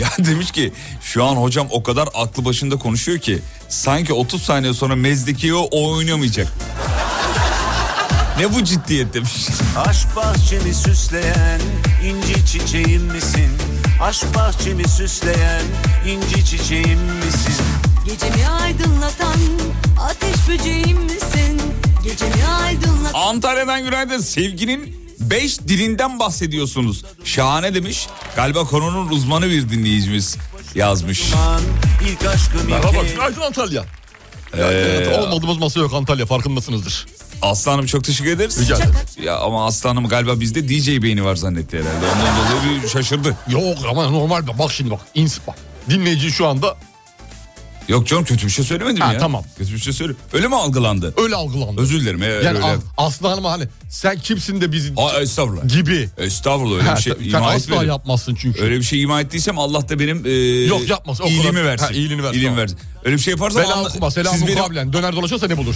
Speaker 2: ya demiş ki şu an hocam o kadar aklı başında konuşuyor ki sanki 30 saniye sonra mezdeki o, o oynamayacak. ne bu ciddiyet demiş.
Speaker 9: Aşk bahçemi süsleyen inci çiçeğim misin? Aşk bahçemi süsleyen inci çiçeğim misin?
Speaker 1: Gecemi aydınlatan ateş böceğim misin? Gecemi aydınlatan
Speaker 2: Antalya'dan günaydın. Sevginin 5 dilinden bahsediyorsunuz. Şahane demiş. Galiba konunun uzmanı bir dinleyicimiz yazmış.
Speaker 9: An, ilk aşkım
Speaker 3: Merhaba,
Speaker 9: ilk
Speaker 3: günaydın Antalya. Ya,
Speaker 2: Ee,
Speaker 3: evet, olmadığımız masa yok Antalya farkındasınızdır.
Speaker 2: Aslanım çok teşekkür ederiz.
Speaker 3: Rica ederim.
Speaker 2: Ya ama Aslanım galiba bizde DJ beyni var zannetti herhalde. Ondan dolayı bir şaşırdı.
Speaker 3: Yok ama normal bak, bak şimdi bak. ins bak. Dinleyici şu anda
Speaker 2: Yok canım kötü bir şey söylemedim
Speaker 3: Ha,
Speaker 2: ya.
Speaker 3: tamam.
Speaker 2: Kötü bir şey söyle. Öyle mi algılandı?
Speaker 3: öyle algılandı.
Speaker 2: Özür dilerim. evet,
Speaker 3: yani
Speaker 2: öyle.
Speaker 3: As- Aslı Hanım'a hani sen kimsin de bizi
Speaker 2: Aa, estağfurullah.
Speaker 3: gibi.
Speaker 2: Estağfurullah öyle
Speaker 3: Ha,
Speaker 2: bir şey
Speaker 3: tabii, sen
Speaker 2: ima
Speaker 3: asla
Speaker 2: etmedim.
Speaker 3: yapmazsın çünkü.
Speaker 2: Öyle bir şey ima ettiysem Allah da benim e,
Speaker 3: Yok, yapmaz. O kadar-
Speaker 2: iyiliğimi versin.
Speaker 3: Ha, iyiliğini versin,
Speaker 2: İyiliğimi
Speaker 3: tamam.
Speaker 2: versin. Öyle bir şey yaparsam
Speaker 3: Bela
Speaker 2: anla-
Speaker 3: okuma
Speaker 2: siz
Speaker 3: selamı
Speaker 2: benim
Speaker 3: kablen. Döner dolaşırsa ne bulur?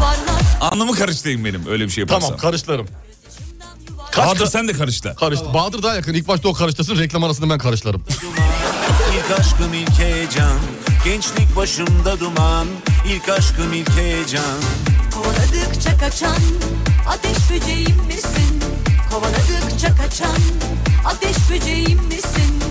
Speaker 1: varlar
Speaker 2: Anlamı karıştırayım benim öyle bir şey yaparsam.
Speaker 3: Tamam
Speaker 2: Tamam.
Speaker 3: karışlarım. Kaç
Speaker 2: Bahadır
Speaker 3: ka-
Speaker 2: sen de karıştı.
Speaker 3: karıştı. Bahadır daha yakın. İlk başta o karıştırsın. Reklam arasında ben karışlarım.
Speaker 9: duman ilk aşkım ilk heyecan Gençlik başımda duman ilk aşkım ilk heyecan
Speaker 1: Kovaladıkça kaçan ateş böceğim misin? Kovaladıkça kaçan ateş böceğim misin?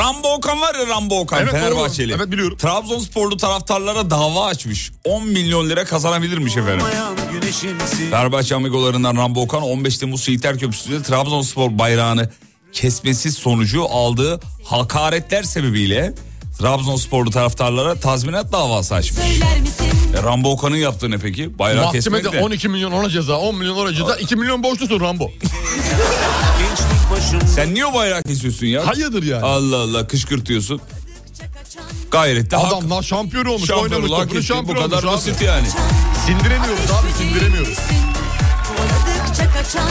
Speaker 2: Rambo Okan var ya Rambo Okan
Speaker 3: Evet, doğru.
Speaker 2: Fenerbahçeli.
Speaker 3: Evet, biliyorum.
Speaker 2: Trabzonsporlu taraftarlara dava açmış. 10 milyon lira kazanabilirmiş efendim.
Speaker 9: Olmayan güneşimsin
Speaker 2: Fenerbahçe amigolarından Rambo Okan 15 Temmuz Seyitler Köprüsü'nde Trabzonspor bayrağını kesmesi sonucu aldığı hakaretler sebebiyle Trabzonsporlu taraftarlara tazminat davası açmış.
Speaker 1: Söyler misin?
Speaker 2: E, Rambo Okan'ın yaptığı ne peki? Bayrağı kesmek
Speaker 3: Mahkemede
Speaker 2: de.
Speaker 3: 12 milyon ona ceza, 10 milyon ona ceza, 2 milyon borçlusun Rambo.
Speaker 9: gençlik başımda
Speaker 2: Sen niye o bayrağı kesiyorsun ya?
Speaker 3: Hayırdır yani?
Speaker 2: Allah Allah kışkırtıyorsun. Gayret de hak.
Speaker 3: Adamlar şampiyon olmuş, oynamış
Speaker 2: Şampiyonluğa
Speaker 3: topunu
Speaker 2: gitti.
Speaker 3: şampiyon
Speaker 2: Bu kadar
Speaker 3: olmuş
Speaker 2: basit
Speaker 3: abi.
Speaker 2: yani.
Speaker 3: Sindiremiyoruz abi, sindiremiyoruz.
Speaker 1: Kovaladıkça kaçan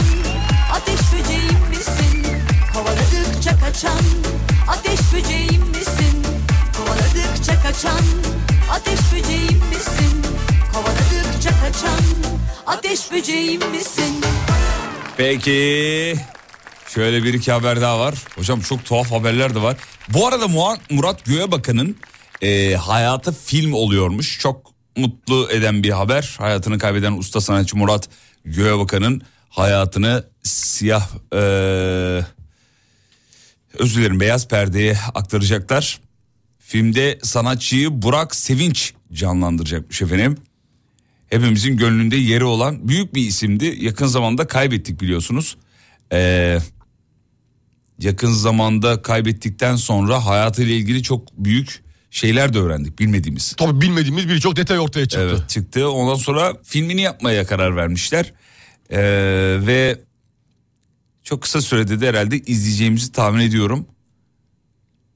Speaker 1: ateş böceğim misin? Kovaladıkça kaçan ateş böceğim misin? Kovaladıkça kaçan ateş böceğim misin? Kovaladıkça kaçan ateş böceğim misin?
Speaker 2: Peki. Şöyle bir iki haber daha var. Hocam çok tuhaf haberler de var. Bu arada Murat, Murat Göğebakan'ın e, hayatı film oluyormuş. Çok mutlu eden bir haber. Hayatını kaybeden usta sanatçı Murat Göğebakan'ın hayatını siyah... e, özür dilerim beyaz perdeye aktaracaklar. Filmde sanatçıyı Burak Sevinç canlandıracakmış efendim. Hepimizin gönlünde yeri olan büyük bir isimdi. Yakın zamanda kaybettik biliyorsunuz. Ee, yakın zamanda kaybettikten sonra hayatıyla ilgili çok büyük şeyler de öğrendik bilmediğimiz.
Speaker 3: Tabii bilmediğimiz birçok detay ortaya çıktı.
Speaker 2: Evet çıktı. Ondan sonra filmini yapmaya karar vermişler. Ee, ve çok kısa sürede de herhalde izleyeceğimizi tahmin ediyorum.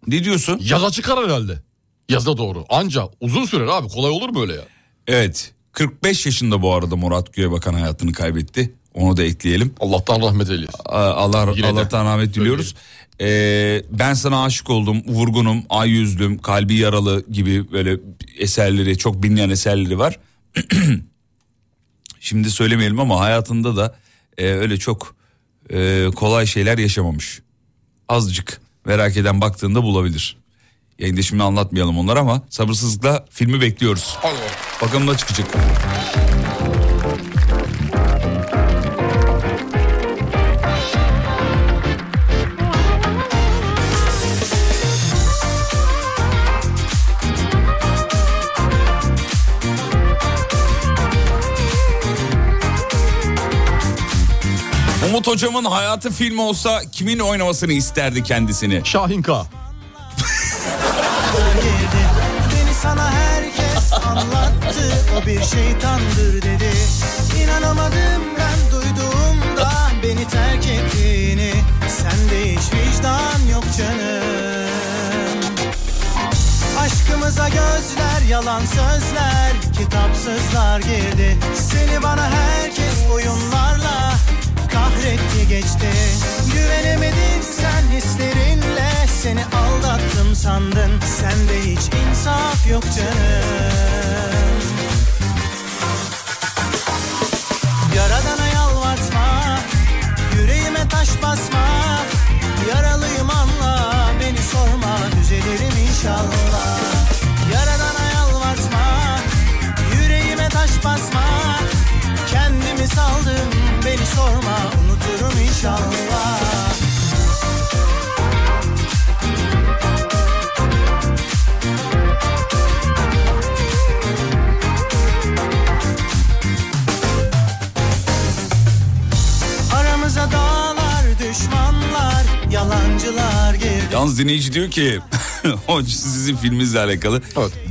Speaker 2: Ne diyorsun?
Speaker 3: Yaza çıkar herhalde. Yaza doğru. Anca uzun sürer abi. Kolay olur mu öyle ya?
Speaker 2: Evet. 45 yaşında bu arada Murat Göğebakan hayatını kaybetti. Onu da ekleyelim.
Speaker 3: Allah'tan rahmet eylesin.
Speaker 2: A- Allah
Speaker 3: Yine de.
Speaker 2: Allah'tan rahmet diliyoruz. Ee, ben sana aşık oldum, vurgunum, ay yüzdüm, kalbi yaralı gibi böyle eserleri, çok bilinen eserleri var. Şimdi söylemeyelim ama hayatında da e, öyle çok e, kolay şeyler yaşamamış. Azıcık merak eden baktığında bulabilir. Yayında şimdi anlatmayalım onları ama sabırsızlıkla filmi bekliyoruz. Bakalım ne çıkacak. Umut Hocam'ın hayatı filmi olsa kimin oynamasını isterdi kendisini?
Speaker 3: Şahin K.
Speaker 10: Beni sana herkes anlattı O bir şeytandır dedi İnanamadım ben duyduğumda Beni terk ettiğini Sende hiç vicdan yok canım Aşkımıza gözler yalan sözler Kitapsızlar girdi Seni bana herkes oyunlarla Kahretti geçti Güvenemedin sen hislerinle Seni aldattım sandın Sende hiç insaf yok canım Yaradana yalvartma Yüreğime taş basma Yaralıyım anla Beni sorma düzelirim inşallah Yaradana yalvartma Yüreğime taş basma Kendimi saldım Beni sorma unuturum inşallah Aramıza dağlar düşmanlar Yalancılar girdi
Speaker 2: Yalnız dinleyici diyor ki hoca sizin filminizle alakalı.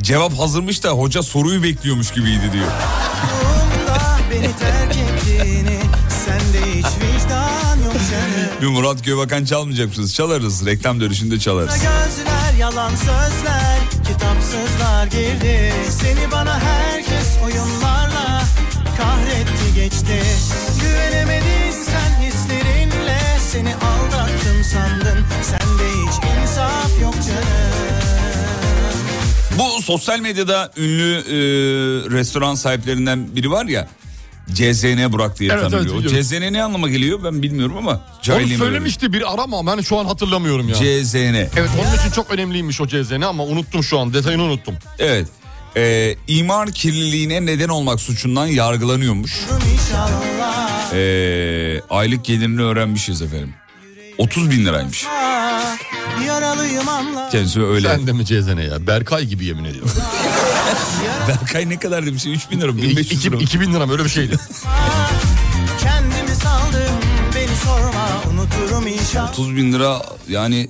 Speaker 2: Cevap hazırmış da hoca soruyu bekliyormuş gibiydi diyor.
Speaker 10: Umda beni terk ettiğini Sende hiç vicdan yok canım
Speaker 2: Bir Murat Göğbakan çalmayacak mısınız? Çalarız. Reklam dönüşünde çalarız.
Speaker 10: Gözler yalan sözler Kitapsızlar girdi Seni bana herkes oyunlarla Kahretti geçti Güvenemedin sen hislerinle Seni aldattım sandın Sende hiç insaf yok canım
Speaker 2: Bu sosyal medyada ünlü e, restoran sahiplerinden biri var ya. CZN Burak diye
Speaker 3: Evet, evet,
Speaker 2: tanınıyor. o
Speaker 3: biliyorum.
Speaker 2: CZN ne anlama geliyor ben bilmiyorum ama.
Speaker 3: Onu
Speaker 2: cahilliğime
Speaker 3: söylemişti bir arama ben şu an hatırlamıyorum ya.
Speaker 2: göre. CZN.
Speaker 3: evet onun için çok önemliymiş o CZN ama unuttum şu an detayını unuttum.
Speaker 2: Evet. E, imar kirliliğine neden olmak suçundan yargılanıyormuş.
Speaker 10: İnşallah
Speaker 2: E, aylık gelirini öğrenmişiz efendim. 30 bin liraymış.
Speaker 10: Yaralıyım anla
Speaker 2: Kendisi öyle.
Speaker 3: Sen de mi CZN ya? Berkay gibi yemin ediyorum.
Speaker 2: Berkay ne kadar demiş? 3000 lira mı? 1500
Speaker 3: İki-
Speaker 2: lira mı?
Speaker 3: 2000 lira mı öyle bir şeydi.
Speaker 10: Kendimi saldım Beni sorma unuturum inşallah
Speaker 2: 30 bin lira yani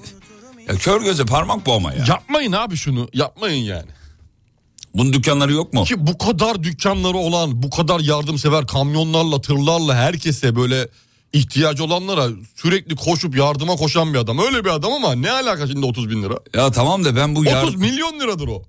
Speaker 2: ya kör göze parmak bu ama ya.
Speaker 3: yapmayın abi şunu yapmayın yani.
Speaker 2: Bunun dükkanları yok mu?
Speaker 3: Ki bu kadar dükkanları olan, bu kadar yardımsever kamyonlarla, tırlarla herkese böyle ihtiyacı olanlara sürekli koşup yardıma koşan bir adam. Öyle bir adam ama ne alaka şimdi 30 bin lira?
Speaker 2: Ya tamam da ben bu yar-
Speaker 3: 30 milyon liradır o.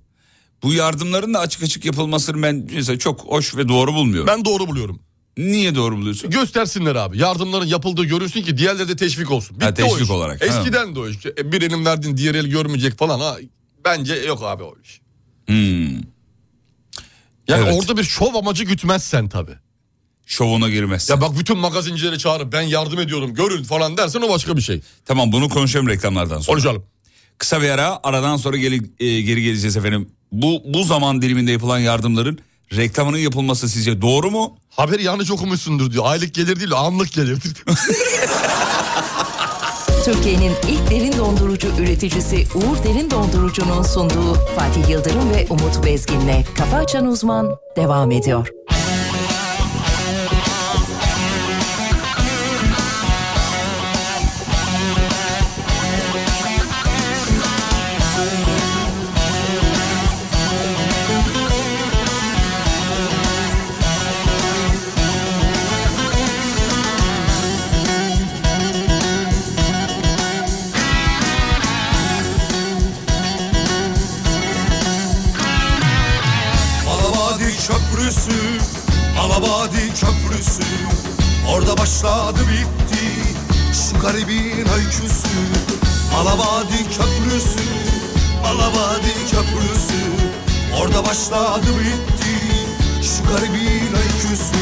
Speaker 2: bu yardımların da açık açık yapılmasını ben mesela çok hoş ve doğru bulmuyorum.
Speaker 3: Ben doğru buluyorum.
Speaker 2: Niye doğru buluyorsun?
Speaker 3: Göstersinler abi. Yardımların yapıldığı görülsün ki diğerleri de teşvik olsun. Bitti
Speaker 2: Ha, teşvik
Speaker 3: o iş.
Speaker 2: olarak, ha.
Speaker 3: Eskiden de o iş. E, Bir elin verdin diğer el görmeyecek falan. Ha. Bence yok abi o iş.
Speaker 2: Hmm,
Speaker 3: Yani
Speaker 2: Evet.
Speaker 3: orada bir şov amacı gütmezsen tabii.
Speaker 2: şovuna girmez.
Speaker 3: Ya bak bütün magazincileri çağırıp ben yardım ediyorum görün falan dersen o başka bir şey.
Speaker 2: Tamam bunu konuşalım reklamlardan sonra.
Speaker 3: Konuşalım.
Speaker 2: Kısa bir ara aradan sonra geri, e, geri geleceğiz efendim. Bu bu zaman diliminde yapılan yardımların reklamının yapılması sizce doğru mu?
Speaker 3: Haberi yanlış okumuşsundur diyor. Aylık gelir değil anlık gelir.
Speaker 6: Türkiye'nin ilk derin dondurucu üreticisi Uğur Derin Dondurucu'nun sunduğu Fatih Yıldırım ve Umut Bezgin'le Kafa Açan Uzman devam ediyor.
Speaker 4: köprüsü Alabadi köprüsü Orada başladı bitti Şu garibin öyküsü Alabadi köprüsü Alabadi köprüsü Orada başladı bitti Şu garibin öyküsü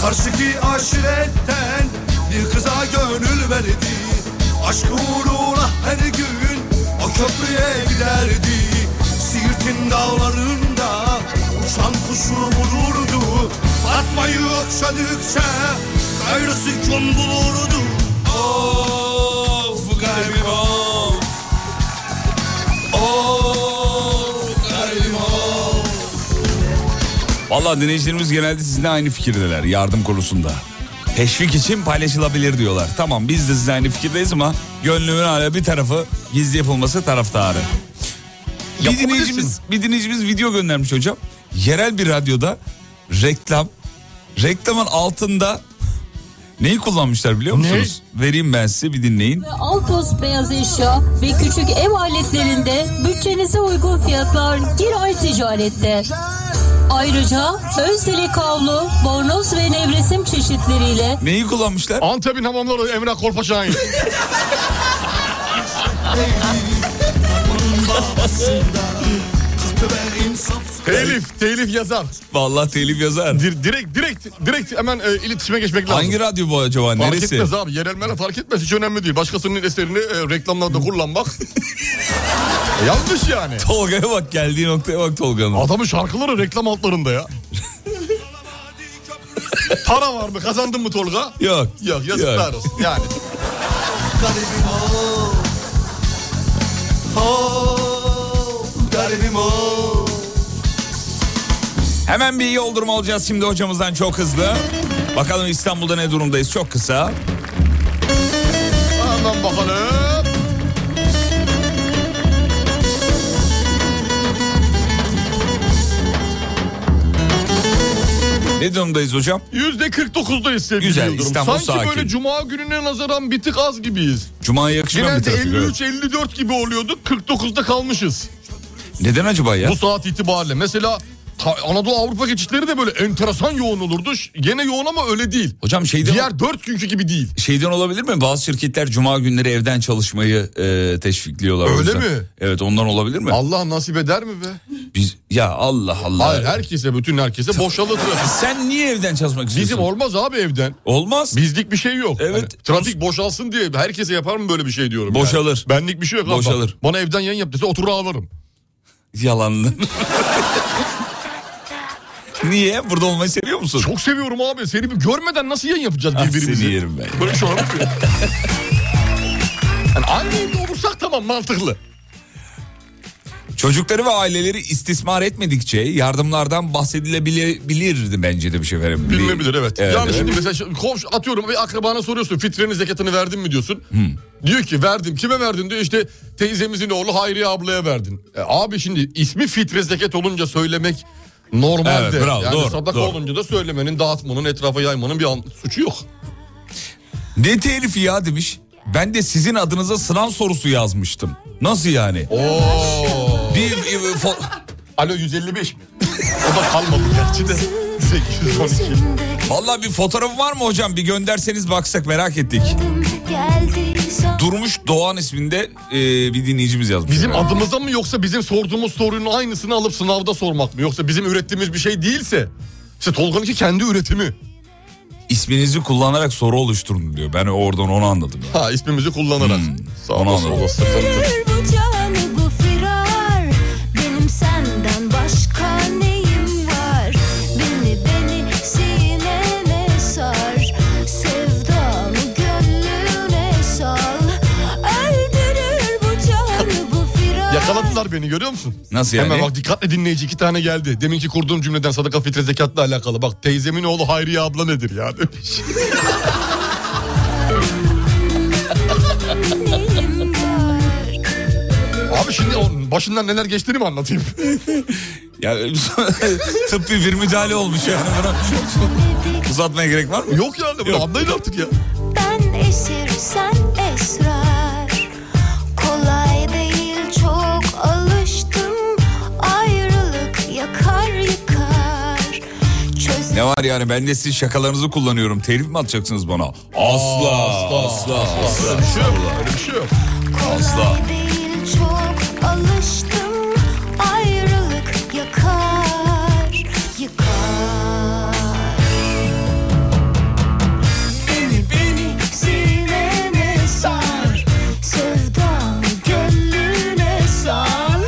Speaker 4: Karşıki aşiretten Bir kıza gönül verdi Aşkı uğruna her gün O köprüye giderdi Siirt'in dağlarında uçan kuşu bulurdu Fatma'yı okşadıkça gayrı sükun bulurdu Of garibim of Of garibim of
Speaker 2: Valla dinleyicilerimiz genelde sizinle aynı fikirdeler yardım konusunda. Teşvik için paylaşılabilir diyorlar. Tamam biz de sizinle aynı fikirdeyiz ama gönlümün hala bir tarafı gizli yapılması taraftarı. Bir dinleyicimiz, bir dinleyicimiz video göndermiş hocam. Yerel bir radyoda reklam, reklamın altında neyi kullanmışlar biliyor musunuz? Vereyim ben size bir dinleyin.
Speaker 11: Altos beyaz eşya ve küçük ev aletlerinde bütçenize uygun fiyatlar Giray Ticaret'te. Ayrıca Özdeli kavlu, bornoz ve nevresim çeşitleriyle
Speaker 2: Neyi kullanmışlar?
Speaker 3: Antep'in hamamları Emrah Korpaçay'ın.
Speaker 4: Onun babasında katı ve insaf
Speaker 3: telif, telif yazar.
Speaker 2: Vallahi telif yazar.
Speaker 3: direkt, direkt, direkt hemen e, iletişime geçmek lazım.
Speaker 2: Hangi radyo bu acaba?
Speaker 3: Fark
Speaker 2: Neresi?
Speaker 3: etmez abi. Yerel merhaba fark etmez. Hiç önemli değil. Başkasının eserini e, reklamlarda kullanmak. E, Yanlış yani.
Speaker 2: Tolga'ya bak geldiği noktaya bak Tolga'nın.
Speaker 3: Adamın şarkıları reklam altlarında ya. Para var mı? Kazandın mı Tolga?
Speaker 2: Yok.
Speaker 3: Yok yazıklar
Speaker 2: Yok.
Speaker 3: olsun. Yani.
Speaker 4: garibim of Of garibim of
Speaker 2: Hemen bir yol durumu alacağız şimdi hocamızdan çok hızlı. Bakalım İstanbul'da ne durumdayız çok kısa.
Speaker 3: Hemen bakalım.
Speaker 2: Ne durumdayız hocam?
Speaker 3: Yüzde 49'dayız sevgili
Speaker 2: Güzel,
Speaker 3: Yıldırım.
Speaker 2: İstanbul
Speaker 3: Sanki
Speaker 2: sakin.
Speaker 3: böyle cuma gününe nazaran bir tık az gibiyiz.
Speaker 2: Cuma'ya yakışmayan bir
Speaker 3: Genelde
Speaker 2: trafik. evet.
Speaker 3: 53-54 gibi oluyorduk. 49'da kalmışız.
Speaker 2: Neden acaba ya?
Speaker 3: Bu saat itibariyle. Mesela Ta- Anadolu Avrupa geçişleri de böyle enteresan yoğun olurdu. Ş- Gene yoğun ama öyle değil.
Speaker 2: Hocam şeyden,
Speaker 3: Diğer 4 günkü gibi değil.
Speaker 2: şeyden olabilir mi? Bazı şirketler cuma günleri evden çalışmayı e, teşvikliyorlar. o
Speaker 3: Öyle
Speaker 2: yüzden.
Speaker 3: mi?
Speaker 2: Evet ondan olabilir mi?
Speaker 3: Allah nasip eder mi be?
Speaker 2: Biz Ya Allah Allah.
Speaker 3: Hayır herkese bütün herkese boşalı trafik.
Speaker 2: Sen niye evden çalışmak istiyorsun?
Speaker 3: Bizim olmaz abi evden.
Speaker 2: Olmaz.
Speaker 3: Bizlik bir şey yok.
Speaker 2: Evet.
Speaker 3: Hani trafik boşalsın diye herkese yapar mı böyle bir şey diyorum. yani.
Speaker 2: Boşalır.
Speaker 3: Benlik bir şey yok. abi.
Speaker 2: Boşalır.
Speaker 3: Bana evden yayın yap dese oturur ağlarım.
Speaker 2: Yalanlı. niye? Burada olmayı seviyor musun?
Speaker 3: Çok seviyorum abi. Seni bir görmeden nasıl yayın yapacağız
Speaker 2: Ah,
Speaker 3: birbirimizi?
Speaker 2: seni yerim ben.
Speaker 3: Böyle bir şey olabilir mi? yani aynı evde olursak tamam mantıklı.
Speaker 2: Çocukları ve aileleri istismar etmedikçe yardımlardan bahsedilebilirdi bence de bir şey efendim.
Speaker 3: Bilinebilir evet.
Speaker 2: Evet,
Speaker 3: yani
Speaker 2: evet.
Speaker 3: şimdi mesela şu- komşu atıyorum bir akrabana soruyorsun fitrenin zekatını verdin mi diyorsun. Diyor ki verdim. Kime verdin diyor işte teyzemizin oğlu Hayriye ablaya verdin. E, abi şimdi ismi fitre zekat olunca söylemek normalde.
Speaker 2: Evet, bravo,
Speaker 3: yani
Speaker 2: doğru,
Speaker 3: sadaka
Speaker 2: doğru.
Speaker 3: olunca da söylemenin dağıtmanın etrafa yaymanın bir an- suçu yok.
Speaker 2: Ne telifi ya demiş. Ben de sizin adınıza sınav sorusu yazmıştım. Nasıl yani?
Speaker 3: Oo.
Speaker 2: Bir, bir- bir fo-
Speaker 3: Alo 155 mi? O da kalmadı gerçi de. 812.
Speaker 2: Vallahi bir fotoğraf var mı hocam? Bir gönderseniz baksak merak ettik. Durmuş Doğan isminde e, bir dinleyicimiz yazmış.
Speaker 3: Bizim adımıza mı yoksa bizim sorduğumuz sorunun aynısını alıp sınavda sormak mı? Yoksa bizim ürettiğimiz bir şey değilse. İşte Tolga'nınki kendi üretimi.
Speaker 2: İsminizi kullanarak soru oluşturun diyor. Ben oradan onu anladım. ya.
Speaker 3: Ha ismimizi kullanarak. Sağ
Speaker 2: Hmm, onu
Speaker 3: olasın.
Speaker 2: anladım.
Speaker 12: Kırır bu canı bu firar Benim senden başka neyim var Beni beni sinene sar Sevdamı gönlüne sal Öldürür bu canı bu firar
Speaker 3: Yakaladılar beni görüyor musun?
Speaker 2: Nasıl yani?
Speaker 3: Hemen bak dikkatle dinleyici iki tane geldi. Deminki kurduğum cümleden sadaka fitre zekatla alakalı. Bak teyzemin oğlu Hayriye abla nedir ya demiş.
Speaker 12: Neyim var
Speaker 3: Abi şimdi onun başından neler geçtiğini mi anlatayım?
Speaker 2: Ya, tıbbi bir müdahale olmuş yani. Buna uzatmaya gerek var mı?
Speaker 3: Yok yani bunu
Speaker 2: Yok.
Speaker 3: anlayın artık ya.
Speaker 12: Ben esir sen esrar Kolay değil çok alıştım Ayrılık yakar yıkar
Speaker 2: Ne var yani ben de sizin şakalarınızı kullanıyorum. Telif mi atacaksınız bana? Asla. Asla. Asla. Asla.
Speaker 3: Öyle bir şey yok. Öyle bir şey yok.
Speaker 2: Asla.
Speaker 12: değil çok alıştım ayrılık yakar yıkar beni beni sinene sar sevdamı gönlüne sar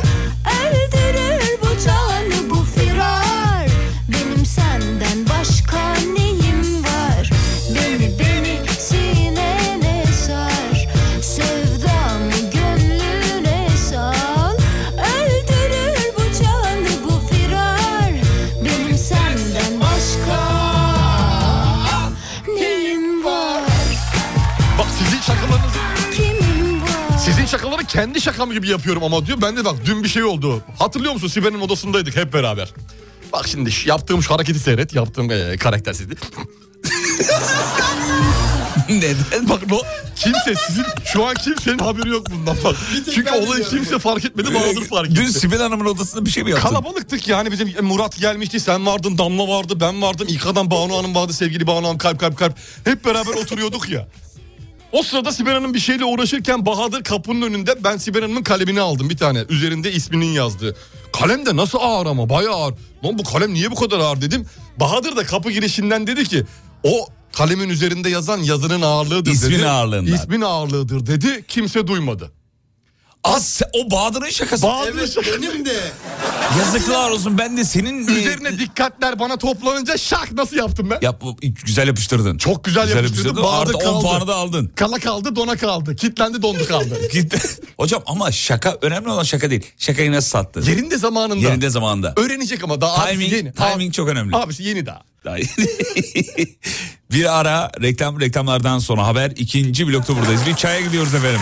Speaker 12: erdirir bu canı bu firar benim senden başka neyim var beni beni sinene sar Sevdamı gönlüne sal Öldürür bu canı bu firar Benim senden başka Neyim var
Speaker 3: Bak sizin şakalarınızı...
Speaker 12: Kimim var
Speaker 3: Sizin şakaları kendi şakam gibi yapıyorum ama diyor. Ben de bak dün bir şey oldu. Hatırlıyor musun Sibel'in odasındaydık hep beraber. Bak şimdi ş- yaptığım şu hareketi seyret. Yaptığım e, karaktersizlik.
Speaker 2: Neden?
Speaker 3: Bak bu kimse sizin şu an kimsenin haberi yok bundan bak.
Speaker 10: tek
Speaker 3: Çünkü
Speaker 10: ben
Speaker 3: olayı
Speaker 10: biliyorum.
Speaker 3: kimse fark etmedi Bahadır fark etti.
Speaker 2: Dün Sibel Hanım'ın odasında bir şey mi yaptın?
Speaker 3: Kalabalıktık yani bizim Murat gelmişti, sen vardın, Damla vardı, ben vardım, İlka'dan Banu Hanım vardı, sevgili Banu Hanım kalp kalp kalp. Hep beraber oturuyorduk ya. O sırada Sibel Hanım bir şeyle uğraşırken Bahadır kapının önünde ben Sibel Hanım'ın kalemini aldım bir tane. Üzerinde isminin yazdığı. Kalem de nasıl ağır ama bayağı ağır. Lan bu kalem niye bu kadar ağır dedim. Bahadır da kapı girişinden dedi ki o kalemin üzerinde yazan yazının ağırlığıdır dedi.
Speaker 2: İsmin ağırlığından.
Speaker 3: İsmin ağırlığıdır dedi kimse duymadı.
Speaker 2: Az se- o Bahadır'ın şakası.
Speaker 3: Bahadır'ın
Speaker 10: Evet
Speaker 3: şakası.
Speaker 10: benim de.
Speaker 2: Yazıklar olsun ben de senin... e,
Speaker 3: Ee, Üzerine dikkatler bana toplanınca şak nasıl yaptım ben?
Speaker 2: Yap, güzel yapıştırdın.
Speaker 3: Çok güzel, yapıştırdın.
Speaker 2: Artı
Speaker 3: Bağırdı
Speaker 2: 10
Speaker 3: kaldı.
Speaker 2: puanı da aldın.
Speaker 3: Kala kaldı dona kaldı. Kitlendi dondu kaldı.
Speaker 2: Gitti. Hocam ama şaka önemli olan şaka değil. Şakayı nasıl sattın?
Speaker 3: Yerinde zamanında.
Speaker 2: Yerinde zamanında.
Speaker 3: Öğrenecek ama daha abisi
Speaker 2: Timing-
Speaker 3: yeni.
Speaker 2: timing çok önemli.
Speaker 3: Abisi yeni daha.
Speaker 2: bir ara reklam reklamlardan sonra haber ikinci blokta buradayız. Bir çaya gidiyoruz efendim.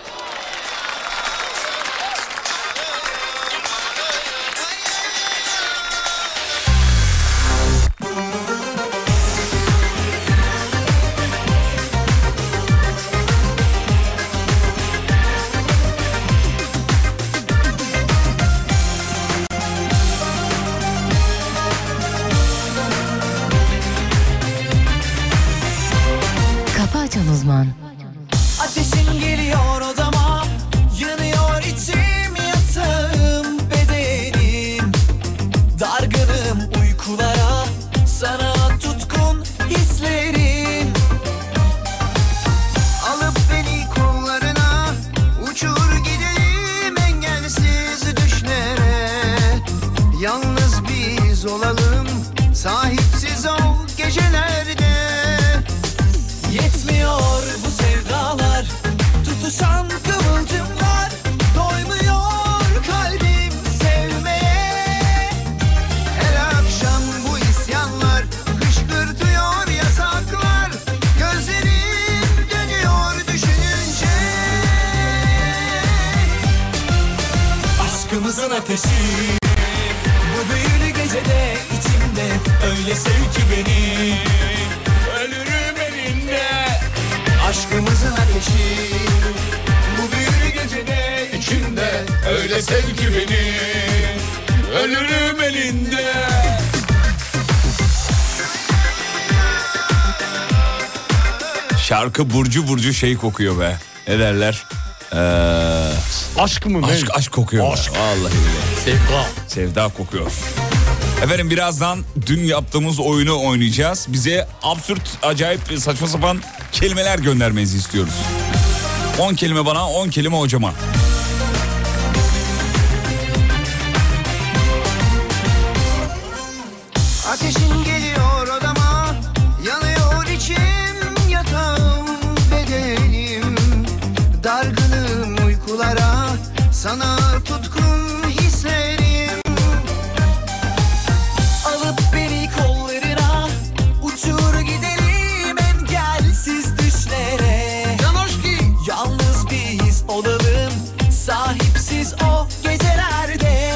Speaker 6: Kafa Açan Uzman
Speaker 8: Ateşin geliyor odama Yanıyor içim yatağım bedenim Dargınım uykulara Sana tutkun hislerim
Speaker 10: Alıp beni kollarına uçur gidelim engelsiz düşlere Yalnız biz olalım sahipsiz o gecelerde
Speaker 8: Yetmiyor bu sevdalar Tutuşan kıvılcımlar Doymuyor kalbim sevmeye
Speaker 10: Her akşam bu isyanlar kışkırtıyor yasaklar Gözlerim dönüyor düşününce
Speaker 8: Aşkımızın ateşi Bu büyülü gecede içimde Öyle sev ki beni Ölürüm elinde Aşkımızın ateşi Bu büyülü gecede içimde
Speaker 3: Öyle sev ki beni. Ölürüm elinde.
Speaker 2: Şarkı burcu burcu şey kokuyor be. Ne derler? Ee,
Speaker 3: Aşk mı ne?
Speaker 2: aşk, aşk kokuyor.
Speaker 3: Aşk.
Speaker 2: Be. Vallahi billahi.
Speaker 3: Sevda.
Speaker 2: Sevda kokuyor. Efendim birazdan dün yaptığımız oyunu oynayacağız. Bize absürt, acayip, saçma sapan kelimeler göndermenizi istiyoruz. 10 kelime bana, 10 kelime hocama.
Speaker 10: Ateşin geliyor odama Yanıyor içim yatağım bedenim Dargınım uykulara Sana tutkun hislerim
Speaker 8: Alıp beni kollarına Uçur gidelim engelsiz düşlere
Speaker 10: Yanoşki
Speaker 8: Yalnız biz olalım Sahipsiz o gecelerde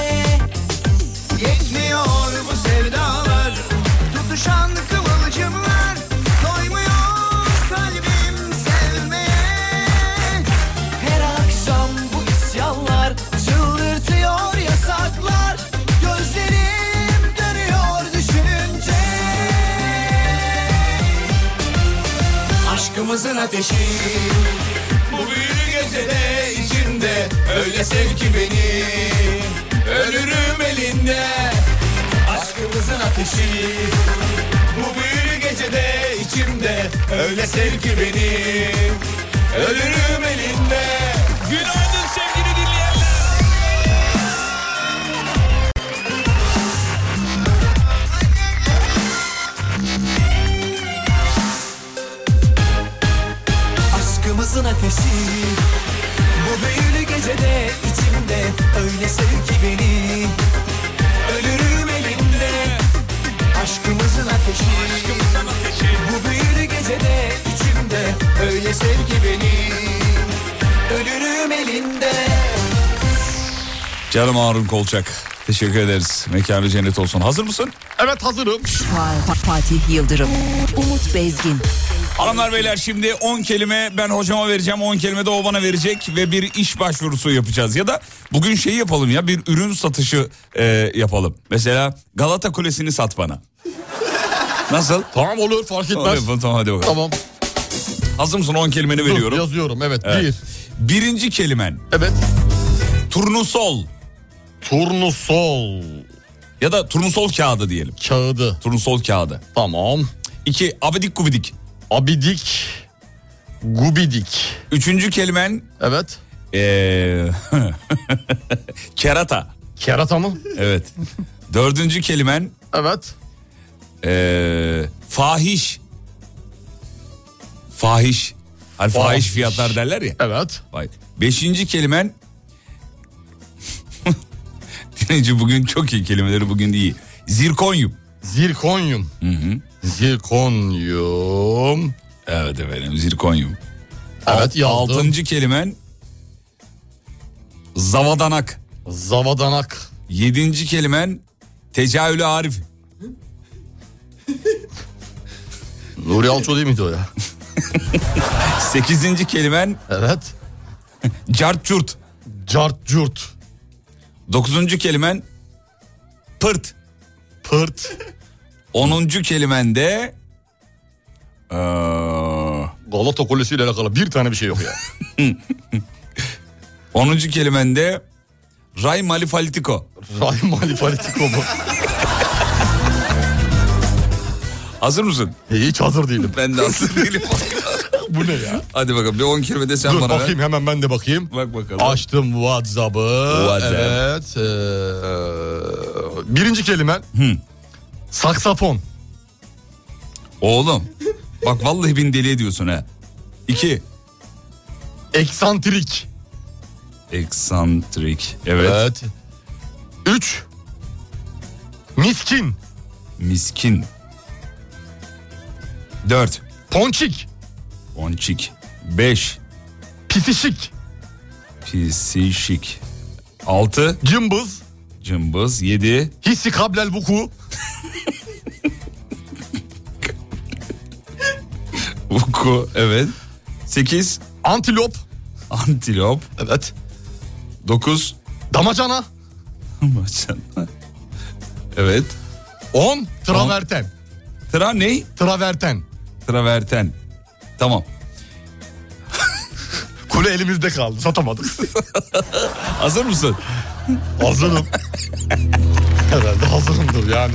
Speaker 10: Yetmiyor bu sevdalar
Speaker 4: aşkımızın ateşi Bu büyülü gecede içimde öyle sev ki beni Ölürüm elinde aşkımızın ateşi Bu büyülü gecede içimde öyle sev ki beni Ölürüm elinde Günaydın sevgili dinleyenler Aşkımızın ateşi Bu büyülü gecede içimde Öyle sev ki beni Ölürüm elinde Aşkımızın ateşi, Bu büyülü gecede içimde Öyle sev ki beni Ölürüm elinde
Speaker 2: Canım Harun Kolçak. Teşekkür ederiz. Mekanı cennet olsun. Hazır mısın?
Speaker 3: Evet hazırım.
Speaker 6: Fatih Yıldırım, Umut Bezgin,
Speaker 2: Hanımlar beyler şimdi 10 kelime ben hocama vereceğim 10 kelime de o bana verecek ve bir iş başvurusu yapacağız. Ya da bugün şeyi yapalım ya bir ürün satışı e, yapalım. Mesela Galata Kulesi'ni sat bana. Nasıl?
Speaker 3: Tamam olur fark etmez.
Speaker 2: Tamam, hadi bakalım.
Speaker 3: Tamam.
Speaker 2: Hazır mısın 10 kelimeni
Speaker 3: Dur,
Speaker 2: veriyorum.
Speaker 3: yazıyorum evet,
Speaker 2: bir. Birinci kelimen.
Speaker 3: Evet.
Speaker 2: Turnusol.
Speaker 3: Turnusol.
Speaker 2: Ya da turnusol kağıdı diyelim.
Speaker 3: Kağıdı.
Speaker 2: Turnusol kağıdı.
Speaker 3: Tamam.
Speaker 2: İki abidik gubidik.
Speaker 3: Abidik gubidik.
Speaker 2: Üçüncü kelimen.
Speaker 3: Evet.
Speaker 2: Ee, kerata.
Speaker 3: Kerata mı?
Speaker 2: Evet. Dördüncü kelimen.
Speaker 3: Evet.
Speaker 2: Ee, fahiş. Fahiş. Hani fahiş,
Speaker 3: Fahiş.
Speaker 2: fiyatlar derler ya.
Speaker 3: Evet.
Speaker 2: Beşinci kelimen. Dinleyici bugün çok iyi kelimeleri bugün iyi. Zirkonyum.
Speaker 3: Zirkonyum.
Speaker 2: Hı hı.
Speaker 3: Zirkonyum.
Speaker 2: Evet efendim zirkonyum.
Speaker 3: Evet yazdım.
Speaker 2: Altıncı kelimen. Zavadanak.
Speaker 3: Zavadanak.
Speaker 2: Yedinci kelimen. Tecahülü Arif.
Speaker 3: Nuri Alço değil miydi o ya?
Speaker 2: Sekizinci kelimen.
Speaker 3: Evet.
Speaker 2: Cart curt.
Speaker 3: Cart curt.
Speaker 2: Dokuzuncu kelimen. Pırt.
Speaker 3: Pırt.
Speaker 2: Onuncu kelimen de. e, eee,
Speaker 3: Galata Kulesi ile alakalı bir tane bir şey yok ya.
Speaker 2: onuncu kelimen de. Ray Malifalitiko.
Speaker 3: Ray Malifalitiko mu?
Speaker 2: Hazır mısın?
Speaker 3: E, Hiç hazır değilim.
Speaker 2: Ben de hazır değilim.
Speaker 3: Bu ne ya?
Speaker 2: Hadi bakalım bir 10 kelime de sen
Speaker 3: Dur
Speaker 2: bana ver.
Speaker 3: bakayım hemen ben de bakayım.
Speaker 2: Bak bakalım.
Speaker 3: Açtım WhatsApp'ı.
Speaker 2: WhatsApp.
Speaker 3: Evet. eee, birinci kelimen. Saksafon.
Speaker 2: Oğlum. Bak vallahi beni deli ediyorsun ha. İki.
Speaker 3: Eksantrik.
Speaker 2: Eksantrik. Evet.
Speaker 3: Üç. Miskin.
Speaker 2: Miskin. Dört.
Speaker 3: Ponçik.
Speaker 2: Onçik. Beş.
Speaker 3: Pisişik.
Speaker 2: Pisişik. Altı.
Speaker 3: Cımbız.
Speaker 2: Cımbız. Yedi.
Speaker 3: Hissi kablel vuku.
Speaker 2: Vuku. Evet. Sekiz.
Speaker 3: Antilop.
Speaker 2: Antilop.
Speaker 3: Evet.
Speaker 2: Dokuz.
Speaker 3: Damacana.
Speaker 2: Maşallah. evet.
Speaker 3: On. Traverten.
Speaker 2: Tra ne?
Speaker 3: Traverten.
Speaker 2: Traverten. Tamam.
Speaker 3: Kule elimizde kaldı. Satamadık.
Speaker 2: Hazır mısın?
Speaker 3: hazırım. Herhalde hazırımdır yani.